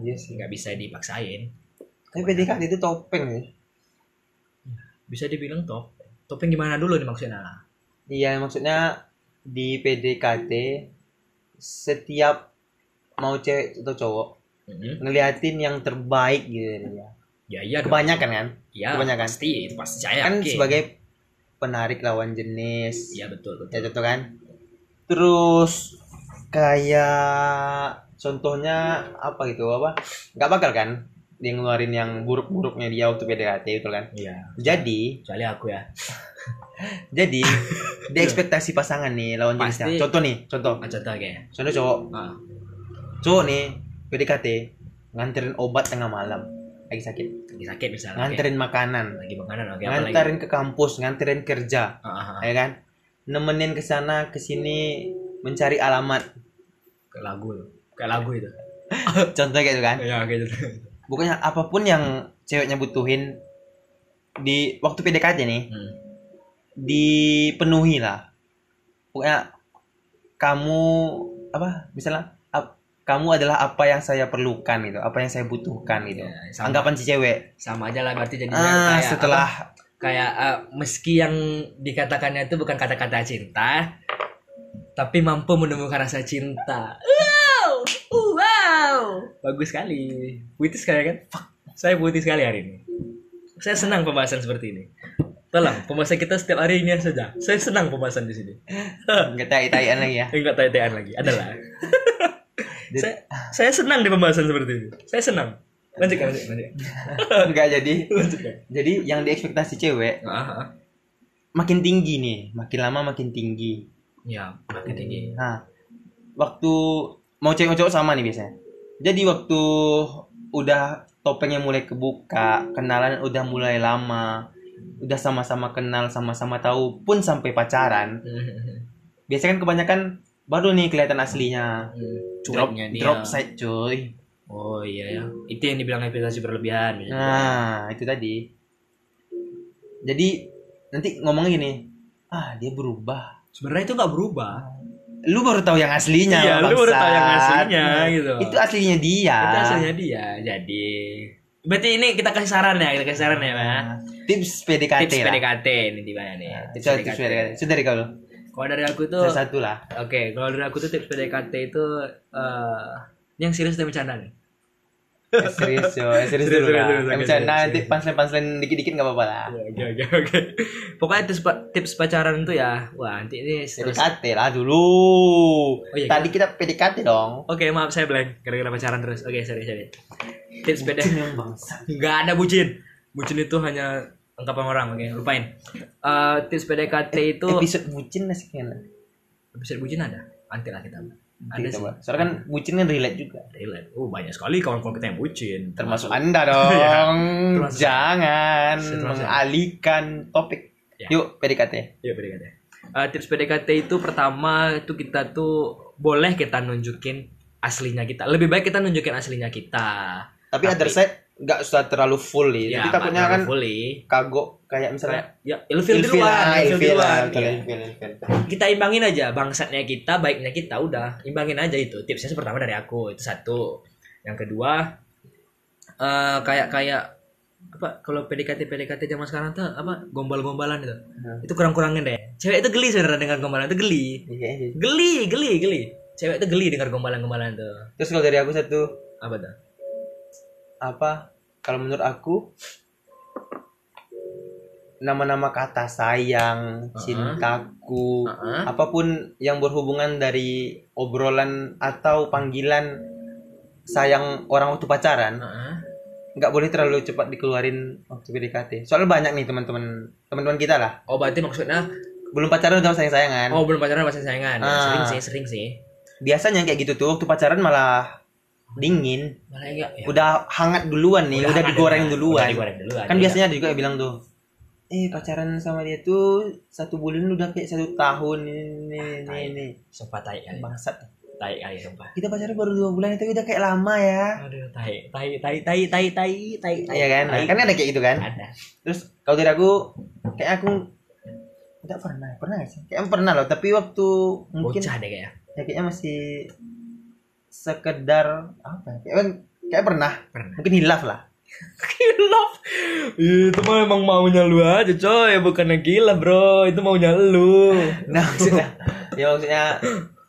Iya sih. nggak bisa dipaksain Tapi PDKT itu topeng sih. bisa dibilang top topeng gimana dulu nih maksudnya Nah, Iya maksudnya di PDKT setiap mau cewek atau cowok Mm-hmm. Mhm. ngeliatin yang terbaik gitu ya. ya iya dong. Kebanyakan kan? ya kebanyakan. pasti itu pasti saya Kan yakin. sebagai penarik lawan jenis. iya betul betul Ya contoh kan. Terus kayak contohnya apa gitu apa? Nggak bakal kan dia ngeluarin yang buruk-buruknya dia waktu PDKT itu kan. iya Jadi, kecuali aku ya jadi dia ekspektasi pasangan nih lawan Pasti. jenisnya. Contoh nih, contoh. Ah, contoh kayaknya Contoh cowok, ah. cowok nih PDKT nganterin obat tengah malam lagi sakit, lagi sakit misalnya nganterin makanan, Oke. lagi makanan oke apa lagi nganterin ke kampus, nganterin kerja, Ah, ah, ah. ya kan? Nemenin ke sana ke sini mencari alamat. kayak lagu tuh kayak lagu itu Contoh kayak gitu kan. ya gitu Bukannya apapun yang ceweknya butuhin di waktu PDKT nih hmm. dipenuhi lah. Pokoknya kamu apa misalnya ap- kamu adalah apa yang saya perlukan gitu, apa yang saya butuhkan gitu. Ya, sama, Anggapan si cewek. sama aja lah berarti jadi Ah, kayak setelah kayak eh, meski yang dikatakannya itu bukan kata-kata cinta tapi mampu menemukan rasa cinta wow wow bagus sekali puitis sekali kan Fuck. saya puitis sekali hari ini saya senang pembahasan seperti ini tolong pembahasan kita setiap hari ini saja saya senang pembahasan di sini nggak tai-taian lagi ya. enggak tanya lagi adalah saya, saya senang di pembahasan seperti ini saya senang lanjutkan lanjutkan lanjutkan. Enggak jadi. lanjutkan Jadi yang diekspektasi cewek Ah, ah. makin tinggi nih, makin lama makin tinggi. ya makin tinggi Nah, waktu mau cewek mau cowok sama nih biasanya. Jadi waktu udah topengnya mulai kebuka, kenalan udah mulai lama, udah sama-sama kenal, sama-sama tahu pun sampai pacaran. Hmm. Biasanya kan kebanyakan baru nih kelihatan aslinya. Drop, cueknya dia drop side cuy. Oh iya ya. Itu yang dibilang ekspektasi berlebihan. Nah, itu tadi. Jadi nanti ngomong gini, ah dia berubah. Sebenarnya itu nggak berubah. Lu baru tahu yang aslinya. Iya, lu baru tahu yang bangsat. aslinya, gitu. Itu aslinya dia. Itu hasilnya dia. Jadi berarti ini kita kasih saran ya, kita kasih saran ya, Pak. Tips PDKT Tips lah. PDKT ini di mana nih? Tips PDKT. Tips PDKT. Itu dari kau. Kalau dari aku tuh Salah satu lah. Oke, kalau dari aku tuh tips PDKT itu eh yang serius dan bercanda nih. Eh, serius yo, eh, serius dulu Serius, serius, lah. Yang serius, oke, bercanda serius, nanti pansen-pansen dikit-dikit nggak apa-apa lah. Oke, oke, Ya, oke. Pokoknya tips, pa- tips pacaran itu ya, wah nanti ini terus. PDKT lah dulu. Oh, iya, Tadi kita PDKT dong. Oke, maaf saya blank gara-gara pacaran terus. Oke, sorry, sorry. Tips PDKT. Cuma bangsa. Nggak ada bucin. Bucin itu hanya ungkapan orang, oke, lupain. Eh tips PDKT itu Episode bucin lah sih kayaknya. episode bucin ada? Nanti lah kita. Ada Gitu, sih. Pak. Soalnya kan bucin kan relate juga. Relate. Oh, banyak sekali kawan-kawan kita yang bucin. Termasuk Anda dong. Iya. termasuk- Jangan termasuk- mengalihkan topik. Ya. Yuk PDKT. Iya PDKT. Eh, tips PDKT itu pertama itu kita tuh boleh kita nunjukin aslinya kita. Lebih baik kita nunjukin aslinya kita. Tapi Tapi- other side nggak usah terlalu full ya. Jadi Pak, takutnya kan fully. kagok kayak misalnya Ah, Ya, ilfil di ilfil luar, ilfil di lah, luar. betul, Iya. ilfil, ilfil. Kita imbangin aja bangsatnya kita, baiknya kita udah. Imbangin aja itu. Tipsnya itu pertama dari aku. Itu satu. Yang kedua eh kayak kayak apa kalau PDKT PDKT zaman sekarang tuh apa gombal-gombalan itu. Hmm. Itu kurang-kurangin deh. Cewek itu geli sebenarnya dengan gombalan itu geli. Iya, iya. geli geli geli cewek tuh geli dengar gombalan-gombalan tuh Terus kalau dari aku satu apa tuh apa? Kalau menurut aku nama-nama kata sayang, Uh-uh. cintaku, Heeh. apapun yang berhubungan dari obrolan atau panggilan sayang orang waktu pacaran Heeh. nggak boleh terlalu cepat dikeluarin waktu PDKT soalnya banyak nih teman-teman teman-teman kita lah oh berarti maksudnya belum pacaran kan? udah sayang sayangan oh belum pacaran masih sayangan Ah. sering sih sering sih biasanya kayak gitu tuh waktu pacaran malah dingin malah enggak ya, udah hangat duluan nih udah, hangat digoreng ya. duluan udah digoreng duluan kan ya. biasanya ada juga yang bilang tuh eh pacaran sama dia tuh satu bulan udah kayak satu tahun Ah, ini ini iya. ini sumpah tai kali bangsat tai kali sumpah kita pacaran baru dua bulan itu udah kayak lama ya aduh tai tai tai tai tai tai tai tai Iya kan? Nah, kan ada kayak gitu kan? Ah, ada Terus kalau dari aku kayak aku enggak pernah, pernah gak sih? Kayaknya pernah loh, tapi waktu mungkin bocah deh kayaknya ya kayaknya masih sekedar apa ya? Kayak kayak pernah. Pernah. Mungkin hilaf lah. Gilaf Itu mah emang maunya lu aja coy Bukannya gila bro Itu maunya lu Nah, maksudnya ya maksudnya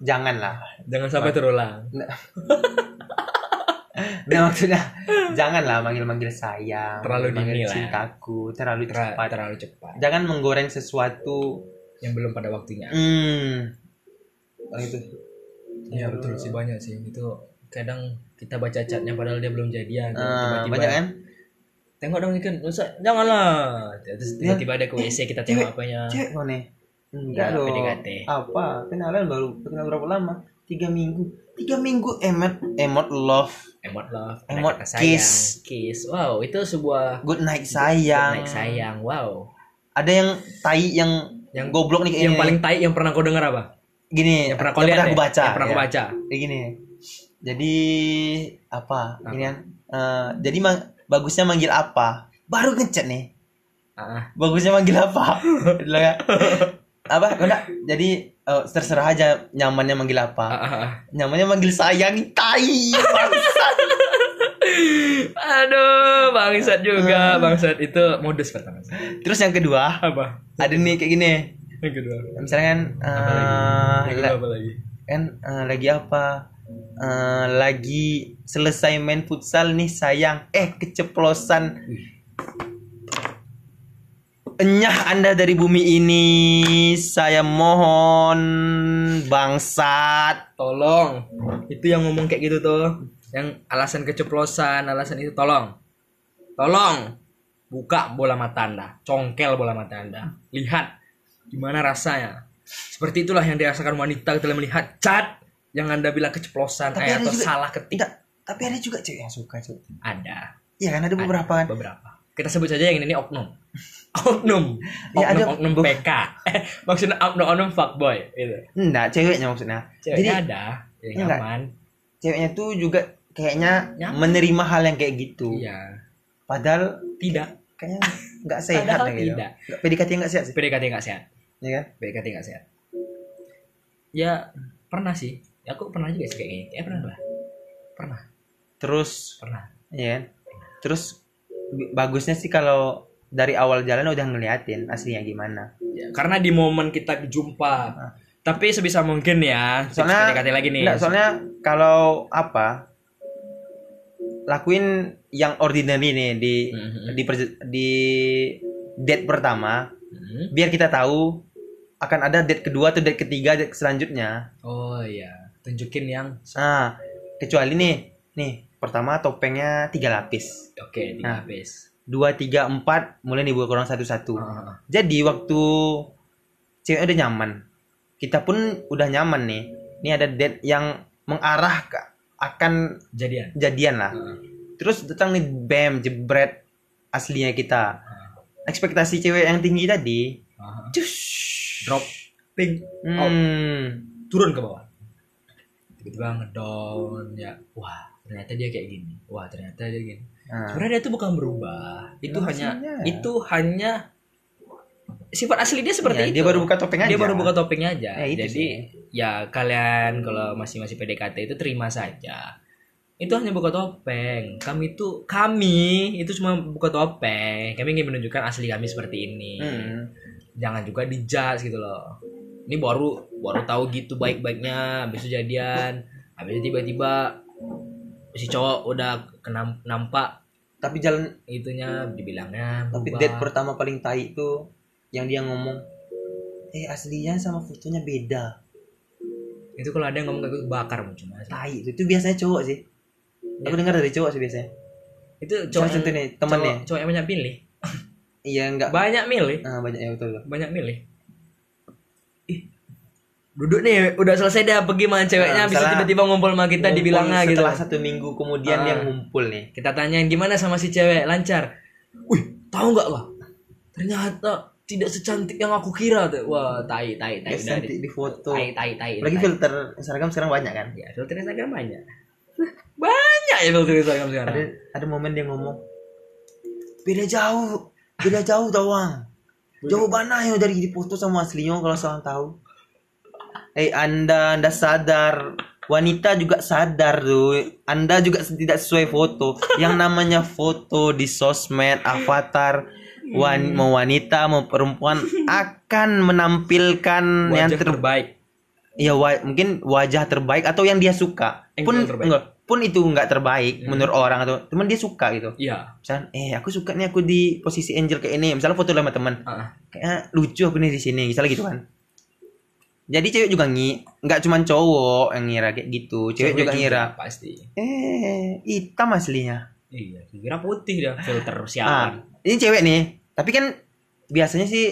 jangan lah. Jangan sampai terulang Nah, maksudnya jangan lah manggil-manggil sayang, Terlalu dini manggil lah. cintaku, terlalu Ter- cepat. Terlalu cepat Jangan menggoreng sesuatu. Yang belum pada waktunya Hmm. Kalau gitu. Iya betul sih banyak sih itu kadang kita baca catnya padahal dia belum jadian Ah, tiba-tiba banyak kan? tengok dong ikan usah janganlah terus Ya. tiba-tiba ada ke WC kita Cewek, tengok apanya Cewek mana? Oh, Enggak Ya, dong. PDKT. Apa? Kenalan baru kenal berapa lama? Tiga minggu. Tiga minggu emot emot love, emot love Emot, kata kiss. sayang kiss wow itu sebuah good night sayang. naik sayang wow Ada yang tai yang yang Yang- goblok nih yang kayaknya. paling tai yang pernah kau dengar apa gini Iya, yang pernah kau lihat aku ya? baca. yang pernah ya. kau baca Kayak gini. Jadi apa? Gini kan. Eh, jadi mang- bagusnya manggil apa? Baru ngechat nih. Ah, bagusnya manggil apa? Bilang ya, apa? Kau nak? Jadi eh, terserah aja nyamannya manggil ah, apa. ah, ah. Nyamannya manggil sayang tai. Bangsat. aduh bangsat juga bangsat itu modus pertama Terus yang kedua apa ada nih kayak gini. yang kedua Misalnya kan eh, yang kedua la- apa lagi kan eh, lagi apa? Eh, lagi selesai main futsal nih sayang. Eh keceplosan. Enyah Anda dari bumi ini. Saya mohon bangsat. tolong itu yang ngomong kayak gitu tuh yang alasan keceplosan alasan itu tolong tolong buka bola mata anda congkel bola mata anda lihat gimana rasanya seperti itulah yang dirasakan wanita ketika melihat cat yang anda bilang keceplosan Tapi ada eh, atau juga- salah ketik Enggak, tapi ada juga cewek yang suka cewek. ada Iya kan ada beberapa kan. beberapa kita sebut saja yang ini oknum oknum oknum Ya, ada- oknum PK Eh, maksudnya oknum oknum fuckboy gitu Enggak, ceweknya maksudnya. ceweknya Jadi ada yang enggak. nyaman ceweknya tuh juga kayaknya Ya. menerima hal yang kayak gitu Iya. padahal Tidak. kayaknya nggak sehat Padahal lah gitu tidak. Nggak- PDKT nggak sehat sih PDKT nggak sehat. ya kan PDKT nggak sehat. Ya pernah sih. Ya, Aku pernah juga sih kayak gini. Ya pernah lah. Pernah. terus Pernah. ya kan? terus bi- bagusnya sih kalau dari awal jalan udah ngeliatin aslinya gimana Ya, karena di momen kita jumpa. Tapi sebisa mungkin ya. tips Soalnya- PDKT lagi nih. Nggak, soalnya kalau apa lakuin yang ordinary nih di Mhm. di perj- di date pertama Hmm. biar kita tahu akan ada date kedua atau date ketiga date selanjutnya. Oh iya. Tunjukin yang Nah, kecuali nih nih pertama topengnya tiga lapis oke di Nah. habis. dua tiga empat mulai dibuat orang satu satu Ah. jadi waktu cewek udah nyaman kita pun udah nyaman nih ini ada date yang mengarah ke akan jadian. jadian lah Heeh. terus datang nih bam jebret aslinya kita Hmm. ekspektasi cewek yang tinggi tadi Ah. cus Drop ping hmm, turun ke bawah. Tiba-tiba ngedown ya. Wah, ternyata dia kayak gini. Wah, ternyata dia gini. nah, Iya, Sebenarnya dia tuh bukan berubah. Itu hanya Maksudnya. itu hanya sifat asli dia ya, seperti itu. dia baru buka topeng aja Dia baru buka topengnya aja. Ya, itu Jadi sih. ya kalian kalau masih masih PDKT itu terima saja. Itu hanya buka topeng. Kami itu kami itu cuma buka topeng. Kami ingin menunjukkan asli kami seperti ini. Hmm. Jangan juga dijudge gitu loh. Ini baru baru tahu gitu baik-baiknya habis itu jadian. Habis itu tiba-tiba si cowok udah kena nampak tapi jalan itunya dibilangnya tapi berubah. date pertama paling tai itu yang dia ngomong eh aslinya sama fotonya beda itu kalau ada yang ngomong kayak gitu bakar mau cuma tai itu, itu biasanya cowok sih aku dengar dari cowok sih biasanya itu cowok Iya. cowok contoh nih temennya cowok, cowok yang banyak pilih iya nggak banyak milih Ah, banyak ya betul banyak milih ih duduk nih udah selesai dah pergi sama Nah, ceweknya bisa misalnya tiba-tiba ngumpul sama kita Ngumpul dibilangnya gitu setelah satu minggu kemudian Ah. dia ngumpul nih kita tanyain gimana sama si cewek lancar wih tahu nggak lah ternyata tidak secantik yang aku kira tuh wah tai tai tai Yes, udah nanti di foto Nah, tai tai tai lagi tai. filter Instagram sekarang banyak kan ya filter Instagram banyak banyak ya filter Instagram sekarang ada ada momen dia ngomong beda jauh beda jauh tawang jauh banget ya dari di foto sama aslinya kalau seorang tahu eh anda anda sadar wanita juga sadar tuh anda juga tidak sesuai foto yang namanya foto di sosmed avatar Hmm. wan- mau wanita mau perempuan akan menampilkan yang wajah ter- terbaik ya wa- mungkin wajah terbaik atau yang Hmm. dia suka Angle pun terbaik. enggak, pun itu nggak terbaik menurut orang atau teman dia suka gitu iya misalnya eh aku suka nih aku di posisi angel kayak ini misalnya foto sama teman Ah. kayak lucu aku nih di sini misalnya gitu kan jadi cewek juga ngi nggak cuman cowok yang ngira kayak gitu cewek, juga, ngira pasti eh hitam aslinya iya kira putih dah filter ah sialan ini cewek nih tapi kan biasanya sih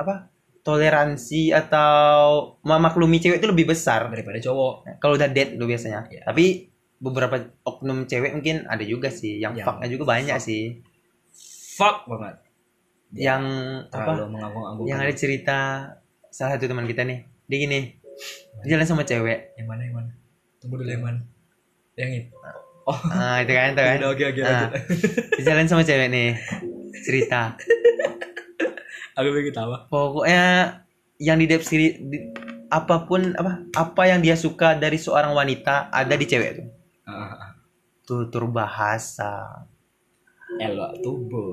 apa toleransi atau memaklumi cewek itu lebih besar Ah. daripada cowok kalau udah dead lu biasanya Iya. tapi beberapa oknum cewek mungkin ada juga sih yang Yang fucknya juga banyak sih fuck banget Iya. yang terlalu apa mengagung-agung yang ada cerita salah satu teman kita nih dia gini dia jalan sama cewek yang mana yang mana tunggu dulu yang mana yang itu oh ah itu kan itu kan udah oke oke Ah, lanjut dia jalan sama cewek nih cerita aku pengen ketawa pokoknya yang di depsiri apapun apa apa yang dia suka dari seorang wanita ada di cewek tuh Ah, ah, ah. tutur bahasa elok tubuh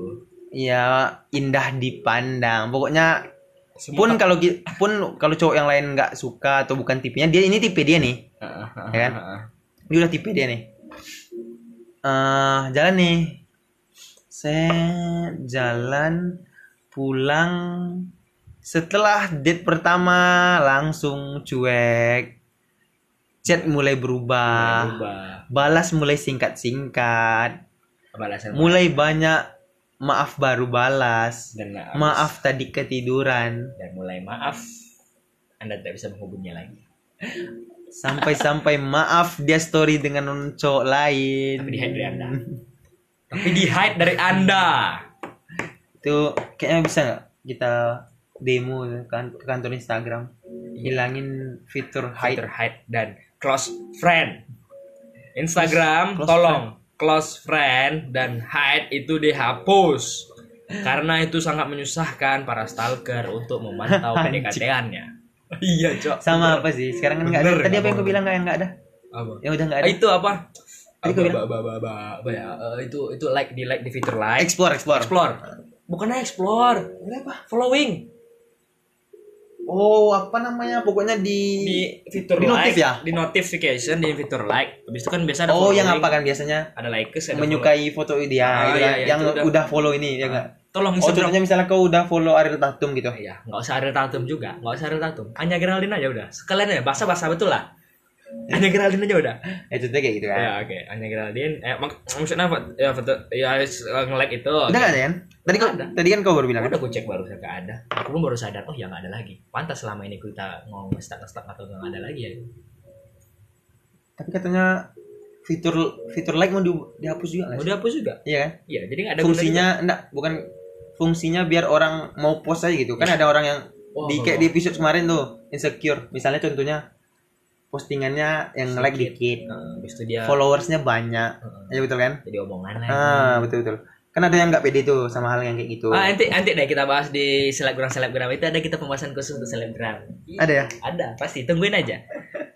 ya indah dipandang pokoknya Semua- pun kalau ki- pun kalau cowok yang lain nggak suka atau bukan tipenya dia ini tipe dia nih Ah, ah, ah, Ya kan? ah, ah. dia udah tipe dia nih eh jalan nih saya jalan pulang setelah date pertama langsung cuek chat mulai Ah. berubah Berubah. balas mulai singkat-singkat balasan mulai banyak maaf baru balas dan maaf. maaf tadi ketiduran dan mulai maaf anda tidak bisa menghubunginya lagi Sampai-sampai maaf dia story dengan cowok lain. tapi di hide dari anda tapi di hide dari anda Itu kayaknya bisa nggak kita demo ke kan- ke kantor Instagram. Hilangin fitur hide. hide dan close friend Instagram Close tolong close friend dan hide itu dihapus karena itu sangat menyusahkan para stalker untuk memantau Anjing. PDKT-annya. iya, Cok. sama apa sih sekarang kan nggak ada Bener, tadi apa yang nggak kau bilang nggak nggak ada Apa? yang udah nggak Ah, ada Itu apa? Tadi Apa, gua apa, apa, apa, apa ya? Eh, itu itu like di like di fitur like. explore explore Explore. Bukannya explore. Kenapa? Following. oh apa namanya pokoknya di, Di fitur Di like, notif ya? di notification, di fitur like. Habis itu kan biasa ada oh yang following, apa kan biasanya Ada likes, ada menyukai foto dia Ah, gitu iya, kan. iya, yang itu udah, udah- Ah. follow ini ya nggak follow- Tolong oh Instagram. contohnya misalnya kau udah follow Ariel Tatum gitu Ya, nggak usah Ariel Tatum juga, nggak usah Ariel Tatum. Hanya Geraldine aja udah. Sekalian ya, bahasa bahasa betul lah. Iya. Hanya Geraldine aja udah. ya contohnya kayak gitu kan Ya, oke. Hanya Geraldine. Eh, mak maksudnya apa? Ya, foto ya nge-like itu. udah nggak ada kan tadi kau Ada. tadi kan kau baru bilang kan Udah gue cek baru nggak ada. Aku pun baru sadar, oh ya nggak ada lagi. Pantas selama ini kita mau ngestak ngestak atau nggak ada lagi ya. tapi katanya fitur fitur like mau di, dihapus juga nggak sih? Udah hapus juga. iya kan Iya, jadi nggak ada fungsinya enggak bukan fungsinya biar orang mau post aja gitu kan Iya. ada orang yang Wah, di kayak di episode kemarin tuh insecure misalnya contohnya postingannya yang like Sedikit. dikit Nah, habis itu dia followersnya banyak Heeh. ya betul kan jadi omongan lah. ah betul betul kan ada yang nggak pede tuh sama hal yang kayak gitu Ah, nanti nanti deh kita bahas di selebgram selebgram itu ada kita pembahasan khusus untuk selebgram. Iya. ada ya Ada, pasti tungguin aja.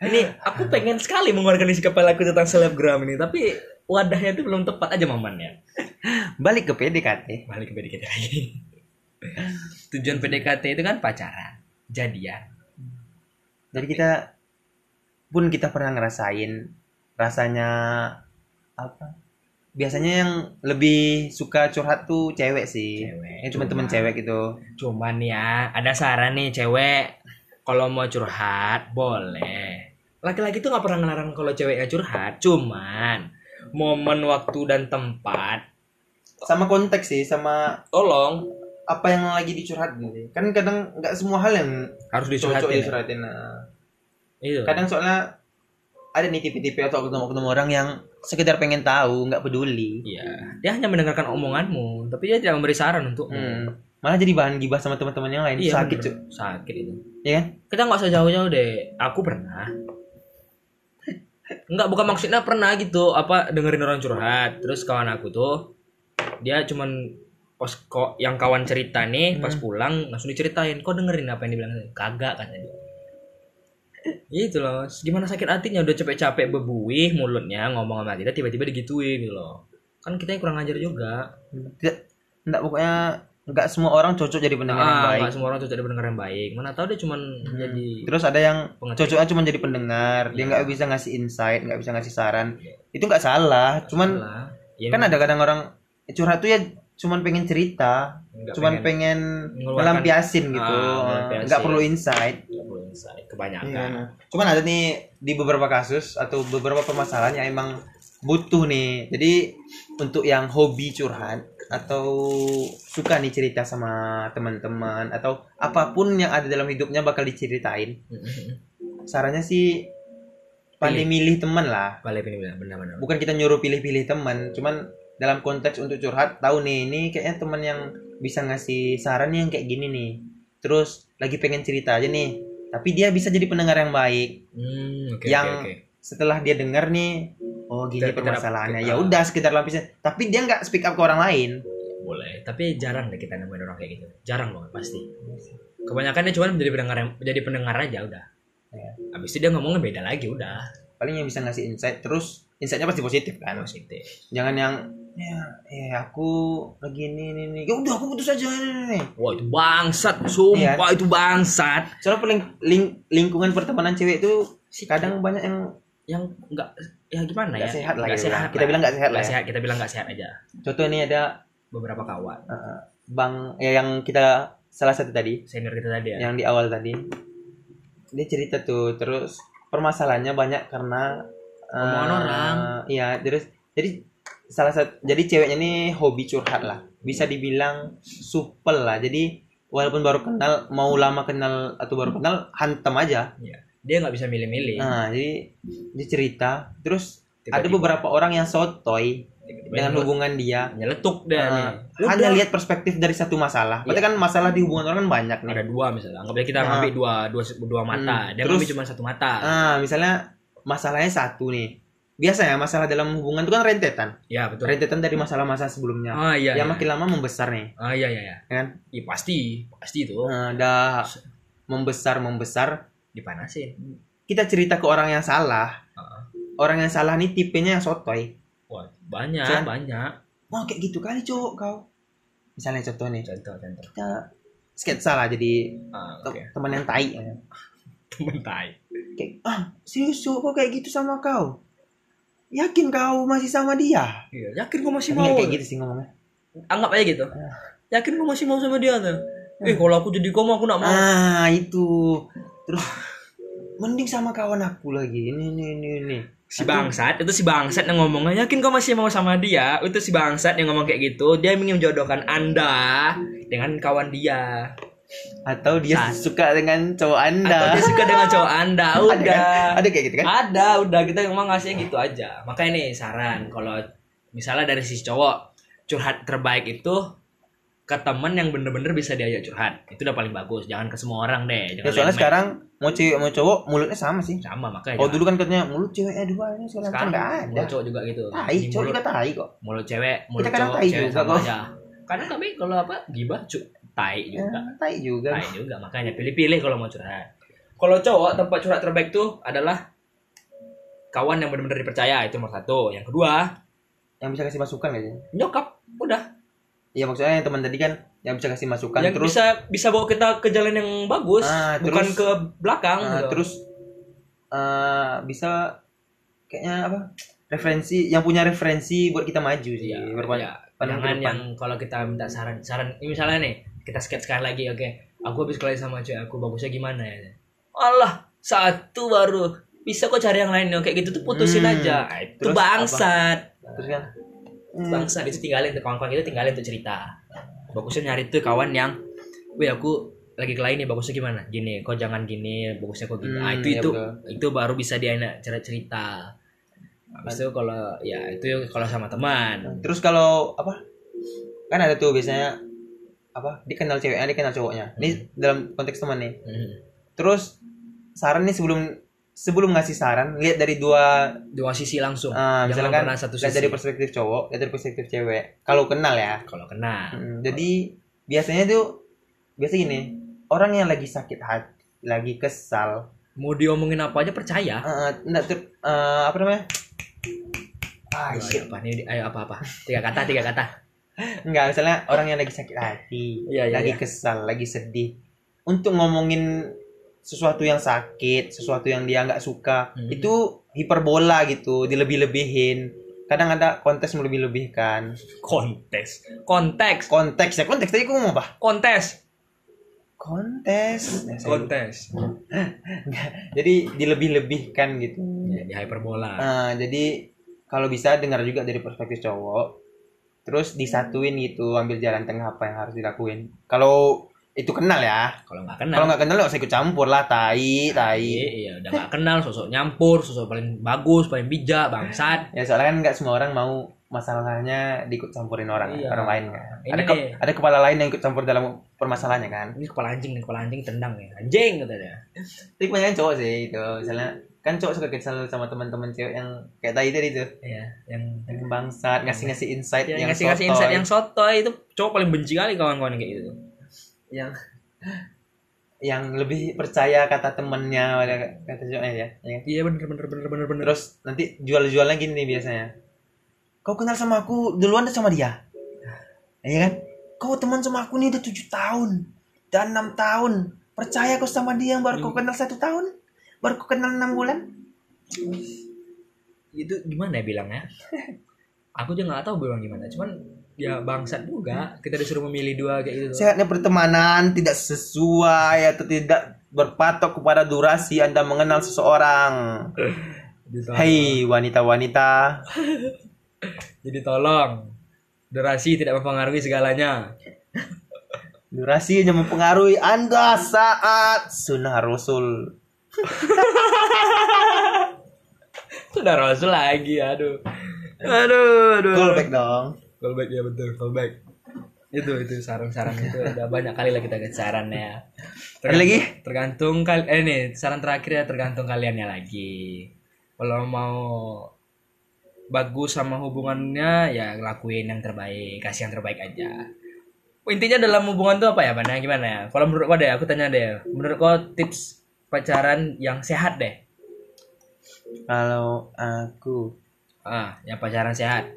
Ini aku pengen sekali mengeluarkan isi kepala aku tentang selebgram ini, tapi wadahnya itu belum tepat aja mamannya. balik ke kan? Eh, PDKT Balik ke PDKT lagi. Tujuan PDKT itu kan pacaran, ya, jadian. jadi kita pun kita pernah ngerasain rasanya apa biasanya yang lebih suka curhat tuh cewek sih Cewek. ya teman-teman cewek gitu Cuman ya, ada saran nih cewek, kalau mau curhat boleh. Laki-laki tuh nggak pernah ngelarang kalau ceweknya curhat, cuman momen waktu dan tempat sama konteks sih sama tolong apa yang lagi dicurhatin sih kan kadang nggak semua hal yang harus cocok dicurhatin. ya? Iya. dicurhatin nah. Itu. kadang soalnya ada nih tipe-tipe atau ketemu ketemu orang yang sekedar pengen tahu nggak peduli Iya, dia hanya mendengarkan omonganmu, tapi dia tidak memberi saran untuk Hmm. malah jadi bahan gibah sama teman-teman yang lain sakit Iya. bener. cuy Sakit itu. ya kan Kita nggak usah jauh-jauh deh. Aku pernah. Enggak, bukan maksudnya pernah gitu apa dengerin orang curhat. Terus kawan aku tuh dia cuman pas kok yang kawan cerita nih pas Hmm. pulang langsung diceritain kok dengerin apa yang dibilang tadi?" kagak kata dia itu loh gimana sakit hatinya udah capek-capek bebuih mulutnya ngomong sama kita tiba-tiba digituin gitu loh kan kita yang kurang ajar juga tidak enggak pokoknya nggak semua orang cocok jadi pendengar ah, yang baik Hmm. nggak semua orang cocok jadi pendengar yang baik. Mana tahu dia cuman jadi terus ada yang pengerti. cocoknya cuma jadi pendengar dia Iya. nggak bisa ngasih insight nggak bisa ngasih saran itu nggak salah cuman Salah. Ya, kan ada kadang orang curhat tuh ya cuman pengen cerita nggak cuman pengen, ngeluarkan- melampiasin gitu Ah, Ah, melampiasin. nggak perlu insight Nggak perlu insight. kebanyakan. Iya. Cuman ada nih di beberapa kasus atau beberapa permasalahan yang emang butuh nih. Jadi untuk yang hobi curhat atau suka nih cerita sama teman-teman atau apapun yang ada dalam hidupnya bakal diceritain. Sarannya sih pandai milih teman lah. Balik ini benar benar benar. Bukan kita nyuruh pilih-pilih teman, cuman dalam konteks untuk curhat tahu nih ini kayaknya teman yang bisa ngasih saran yang kayak gini nih. Terus lagi pengen cerita aja nih, tapi dia bisa jadi pendengar yang baik Hmm, oke Yang oke, oke. setelah dia dengar nih oh gini Sekedar- permasalahannya kita- ya udah sekitar lapisan tapi dia nggak speak up ke orang lain Boleh, tapi jarang deh kita nemuin orang kayak gitu. Jarang banget pasti. Kebanyakan dia cuman menjadi pendengar yang- menjadi pendengar aja udah. Iya. Habis itu dia ngomongnya beda lagi udah. paling yang bisa ngasih insight terus insightnya pasti positif kan Positif. jangan yang ya eh aku lagi ini ini, ini. ya udah aku putus aja ini, ini, ini. Wah itu bangsat, sumpah Iya. itu bangsat. soalnya paling ling- lingkungan pertemanan cewek itu kadang banyak yang yang nggak ya gimana Nggak ya sehat lah Nggak gitu lah. Kita bilang nggak sehat lah Nggak ya. sehat kita bilang nggak sehat aja contoh ini ada beberapa kawan uh, bang ya yang kita salah satu tadi senior kita tadi ya yang di awal tadi dia cerita tuh terus permasalahannya banyak karena eh, Omongan orang. iya terus jadi salah satu jadi ceweknya ini hobi curhat lah bisa dibilang supel lah jadi walaupun baru kenal mau lama kenal atau baru kenal hantem aja Iya. dia nggak bisa milih-milih nah jadi dia cerita terus Iya. Tiba-tiba- ada beberapa orang yang sotoy tiba-tiba dengan nyeletuk- hubungan dia nyeletuk dia Eh, nih. hanya Udah. lihat perspektif dari satu masalah berarti Iya. kan masalah di hubungan orang kan banyak nih ada dua misalnya anggaplah kita Nah. ngambil dua dua dua mata Hmm. dia Terus- ngambil cuma satu mata Ah, misalnya masalahnya Ah, satu nih. biasanya masalah dalam hubungan itu kan rentetan ya betul rentetan dari masalah-masalah sebelumnya ah iya yang iya. makin lama membesar nih ah iya iya iya. kan Iya, pasti pasti itu Eh, dah membesar membesar dipanasin kita cerita ke orang yang salah Heeh. orang yang salah nih tipenya yang sotoy wah banyak Kan? banyak wah kayak gitu kali cowok kau misalnya contoh nih contoh contoh kita sketsa lah jadi ah, te- oke teman yang tai ya. temen tai kayak ah serius cowok kok kayak gitu sama kau yakin kau masih sama dia iya yakin gua masih Tapi mau nggak kayak gitu Ah. sih ngomongnya anggap aja gitu yakin gua masih mau sama dia tuh eh kalau aku jadi koma aku nak mau ah itu terus mending sama kawan aku lagi ini ini ini ini si bangsat itu si bangsat yang ngomongnya yakin kau masih mau sama dia itu si bangsat yang ngomong kayak gitu dia ingin menjodohkan anda dengan kawan dia atau dia Saat. suka dengan cowok anda atau dia suka Ah, dengan cowok anda ada udah kan? ada kayak gitu kan ada udah kita emang ngasih gitu aja makanya nih saran kalau misalnya dari si cowok curhat terbaik itu ke temen yang bener-bener bisa diajak curhat itu udah paling bagus jangan ke semua orang deh ya jangan soalnya main-main. sekarang mau cewek mau cowok mulutnya sama sih sama makanya oh jangan. dulu kan katanya mulut cewek eh dua ini sekarang kan Iya. sekarang nggak ada mulut cowok juga gitu tai Di cowok mulut- juga tai kok mulut cewek, mulut Kita Ya, kadang cowok, tai cewek juga sama kok. aja. Karena kami kalau apa gibah cu tai ya, juga, tai juga Iya, tai juga makanya pilih-pilih kalau mau curhat. Kalau cowok tempat curhat terbaik tuh adalah kawan yang benar-benar dipercaya itu nomor satu. Yang kedua yang bisa kasih masukan aja nyokap udah ya maksudnya yang teman tadi kan yang bisa kasih masukan yang terus bisa bisa bawa kita ke jalan yang bagus Ah, bukan terus- ke belakang eh, gitu. terus eh, bisa kayaknya apa referensi yang punya referensi buat kita maju sih Iya, berpan- iya. pandang ke jangan depan. yang kalau kita minta saran saran ini misalnya nih kita sketch sekali lagi oke aku habis kelahi sama cewek aku bagusnya gimana ya Allah satu baru bisa kok cari yang lain yang kayak gitu tuh putusin Hmm. aja Ah, itu Terus bangsat terus kan hmm, bangsat itu tinggalin tuh kawan-kawan kita tinggalin tuh cerita bagusnya nyari tuh kawan yang wih aku lagi kelahi nih bagusnya gimana gini kok jangan gini bagusnya kok gini Ah, Hmm, itu iya itu betul. itu baru bisa dia enak cara cerita habis itu kalau ya itu kalau sama teman Terus kalau apa? Kan ada tuh biasanya apa? Dikenal ceweknya, dikenal cowoknya. Ini dalam konteks teman nih. Hmm. Terus saran nih sebelum sebelum ngasih saran, lihat dari dua dua sisi eh, langsung jangan misalkan pernah satu lihat sisi dari perspektif cowok, lihat dari perspektif cewek. Kalau kenal ya. kalau kena Mm, Jadi biasanya tuh biasa gini, orang yang lagi sakit hati, lagi kesal, mau diomongin apa aja percaya eh, enggak ter- eh, apa namanya? Ah, ayo, shit. apa nih ayo apa apa tiga kata tiga kata Enggak, misalnya orang yang lagi sakit hati, Iya, iya, lagi iya. kesal, lagi sedih. Untuk ngomongin sesuatu yang sakit, sesuatu yang dia nggak suka, Hmm. itu hiperbola gitu, dilebih-lebihin. Kadang ada kontes melebih-lebihkan. kontes konteks Konteks ya, konteks tadi aku ngomong apa? kontes Kontes. Ya, saya- kontes Jadi dilebih-lebihkan gitu. ya, di hyperbola Eh, jadi kalau bisa dengar juga dari perspektif cowok, terus disatuin gitu, ambil jalan tengah apa yang harus dilakuin. Kalau itu kenal ya. kalau nggak kenal Kalau nggak kenal nggak usah ikut campur lah, tai, iya, tai. iya, udah nggak kenal sosok nyampur sosok paling bagus paling bijak bangsat Ya soalnya kan nggak semua orang mau masalahnya diikut campurin orang, Iya. orang lain kan. Ini ada, ke- nih. ada kepala lain yang ikut campur dalam permasalahannya kan. ini kepala anjing nih kepala anjing tendang ya anjing katanya Tapi kebanyakan cowok sih itu, misalnya kan cowok suka kesel sama teman-teman cewek yang kayak tadi tadi tuh, ya yang yang bangsat, ngasih-ngasih insight yang yang ngasih sotoy. ngasih Iya, insight yang sotoy itu cowok paling benci kali kawan-kawan kayak gitu yang yang lebih percaya kata temennya pada kata cowoknya ya. ya. iya bener bener bener bener bener Terus nanti jual-jualnya gini nih biasanya. Kau kenal sama aku duluan atau sama dia? Iya kan? Kau teman sama aku nih udah tujuh tahun dan enam tahun. Percaya kau sama dia yang baru kau kenal satu tahun? Baru kau kenal enam bulan? itu gimana ya bilangnya aku juga nggak tahu bilang gimana cuman ya bangsat juga kita disuruh memilih dua kayak gitu Sehatnya pertemanan tidak sesuai atau tidak berpatok kepada durasi Anda mengenal seseorang. jadi tolong, Hei wanita-wanita, jadi tolong durasi tidak mempengaruhi segalanya durasi yang mempengaruhi Anda saat sunnah Rasul. sudah rasul lagi aduh aduh aduh Callback dong. callback ya betul callback itu itu saran-saran itu udah banyak kali lah kita kasih sarannya Ada lagi? tergantung kali eh nih saran terakhir ya tergantung kaliannya lagi kalau mau bagus sama hubungannya ya lakuin yang terbaik kasih yang terbaik aja intinya dalam hubungan tuh apa ya mana gimana ya kalau menurut kau deh aku tanya deh menurut kau tips pacaran yang sehat deh Kalau aku ah yang pacaran sehat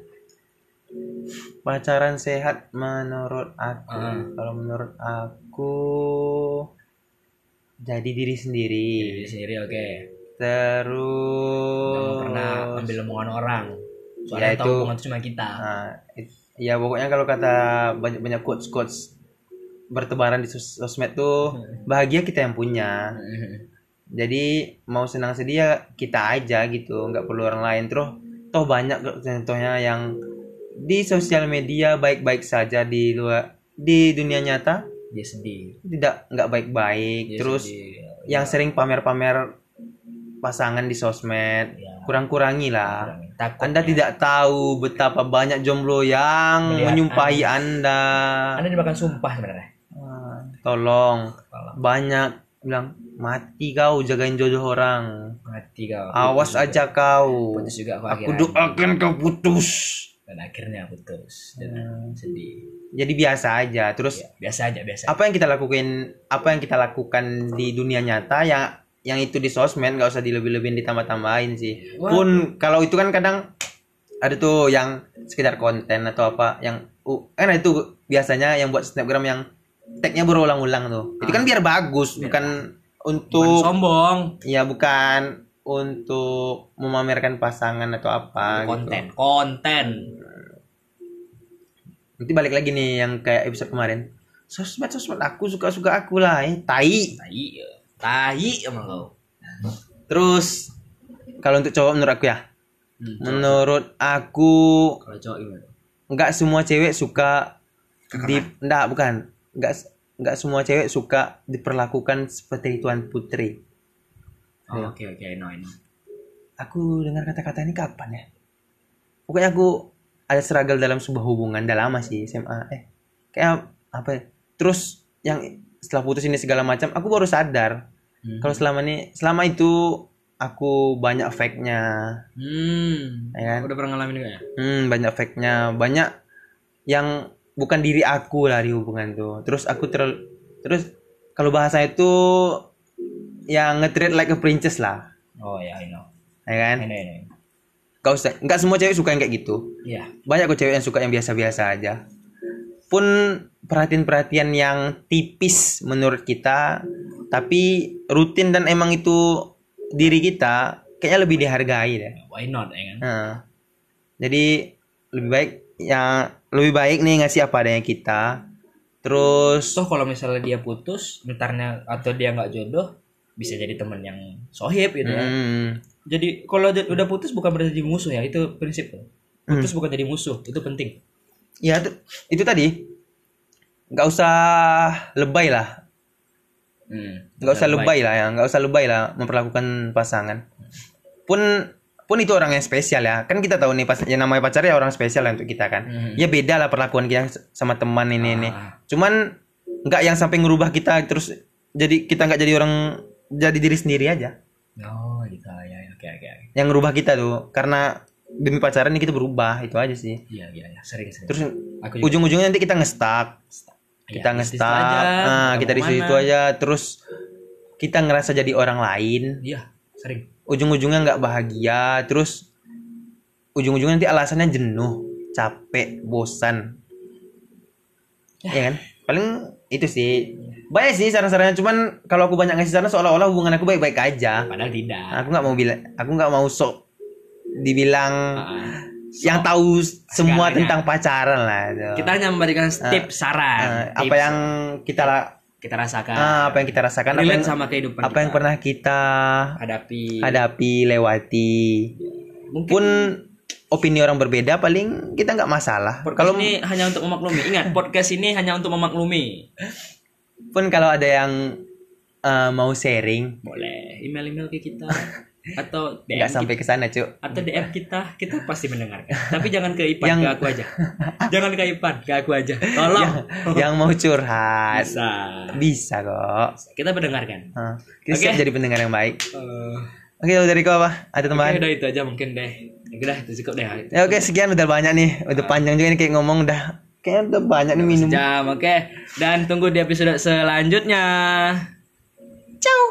pacaran sehat menurut aku, Ah. kalau menurut aku jadi diri sendiri. diri sendiri oke jangan Terus pernah ambil omongan orang Ya, soalnya tahu itu- omongan itu cuma kita Nah, it- ya pokoknya kalau kata banyak-banyak quotes-quotes bertebaran di sos- sosmed tuh bahagia kita yang punya. jadi mau senang sedih ya kita aja gitu nggak perlu orang lain terus toh banyak kok contohnya yang di sosial media baik-baik saja di luar di dunia nyata dia sedih tidak nggak baik-baik Dia terus sedih. yang sering pamer-pamer pasangan di sosmed Ya, kurang-kurangi lah takut anda tidak tahu betapa banyak jomblo yang Melihat menyumpahi anda anda dimakan sumpah sebenarnya Ah, tolong Tolong. banyak bilang mati kau jagain jodoh orang mati kau Awas aja kau. putus juga aku, Aku akhiran. doakan kau putus. dan akhirnya putus dan Hmm. sedih Jadi biasa aja. Terus Ya, biasa aja biasa apa yang kita lakuin? Apa yang kita lakukan di dunia nyata ya yang itu di sosmed nggak usah dilebih-lebihin ditambah-tambahin sih. Wah. Pun kalau itu kan kadang ada tuh yang sekedar konten atau apa yang uh, kan itu biasanya yang buat snapgram yang tagnya berulang-ulang tuh. Itu kan biar bagus, bukan Ah. Iya. Bukan untuk sombong ya bukan untuk memamerkan pasangan atau apa gitu. konten konten Nanti balik lagi nih yang kayak episode kemarin. Sosmed sosmed aku suka suka aku lah, eh, tai. tai ya. tai emang kau Terus kalau untuk cowok menurut aku ya, Hmm, menurut aku kalau cowok gimana nggak semua cewek suka di, nggak bukan, nggak s- nggak semua cewek suka diperlakukan seperti tuan putri. Iya. Oh, oke oke no no Aku dengar kata-kata ini kapan ya? Pokoknya aku ada struggle dalam sebuah hubungan dalam lama sih SMA. Eh, kayak apa? ya? Terus yang setelah putus ini segala macam, aku baru sadar Hmm. kalau selama ini selama itu aku banyak fake-nya hmm ya kan udah pernah ngalamin gak ya hmm, banyak fake-nya banyak yang bukan diri aku lah di hubungan tuh terus aku ter terus kalau bahasa itu yang nge-treat like a princess lah oh ya I know ya kan I know I know gak usah nggak semua cewek suka yang kayak gitu ya banyak kok cewek yang suka yang biasa-biasa aja pun perhatian-perhatian yang tipis menurut kita tapi rutin dan emang itu diri kita kayaknya lebih dihargai deh why not ya kan Nah, jadi lebih baik yang lebih baik nih ngasih apa adanya kita. Terus toh kalau misalnya dia putus entarnya atau dia nggak jodoh bisa jadi teman yang sohib gitu ya hmm, jadi kalau j- udah putus bukan berarti jadi musuh ya itu prinsip tuh. Hmm. putus bukan jadi musuh itu penting ya itu, itu tadi nggak usah lebay lah, nggak usah lebay lah ya, nggak usah lebay lah memperlakukan pasangan. Pun pun itu orang yang spesial ya, kan kita tahu nih pas yang namanya pacar ya orang spesial lah untuk kita kan. Hmm. Ya beda lah perlakuan kita sama teman ini ini. Ah. Cuman nggak yang sampai ngerubah kita terus jadi kita nggak jadi orang jadi diri sendiri aja. oh gitu ya ya, oke oke oke. yang ngerubah kita tuh karena demi pacaran ini kita berubah itu aja sih iya iya iya sering sering terus aku juga ujung-ujungnya nanti kita ngestak Ya, kita di situ ngestak nah, kita, kita di mau situ mana. aja terus kita ngerasa jadi orang lain iya sering ujung-ujungnya nggak bahagia terus ujung-ujungnya nanti alasannya jenuh capek bosan ya kan paling itu sih banyak sih saran-sarannya cuman kalau aku banyak ngasih saran seolah-olah hubungan aku baik-baik aja padahal tidak aku nggak mau bilang aku nggak mau sok dibilang Ah. yang tahu semua Segalanya. tentang pacaran lah itu. kita hanya memberikan tips saran Eh, Ah. apa tips yang kita la- kita rasakan ah, apa yang kita rasakan apa yang, relate sama kehidupan apa yang kita. pernah kita hadapi hadapi lewati mungkin pun opini orang berbeda paling kita nggak masalah podcast kalau ini hanya untuk memaklumi ingat podcast ini hanya untuk memaklumi pun kalau ada yang eh, mau sharing boleh email email ke kita atau DM nggak kita. sampai ke sana cuk atau DM kita kita pasti mendengarkan tapi jangan ke Ipan Yang- ke aku aja jangan ke Ipan ke aku aja tolong yang mau curhat bisa bisa kok kita mendengarkan Eh, kita siap Oke. jadi pendengar yang baik Eh, Oke, kalau dari kau apa? Ada Oke, tambahan? Ya udah itu aja mungkin deh. Oke dah, itu cukup deh. Ya oke, sekian udah banyak nih. Udah panjang juga nih kayak ngomong udah kayaknya udah banyak nih minum. Jam, oke. Dan tunggu di episode selanjutnya. Ciao.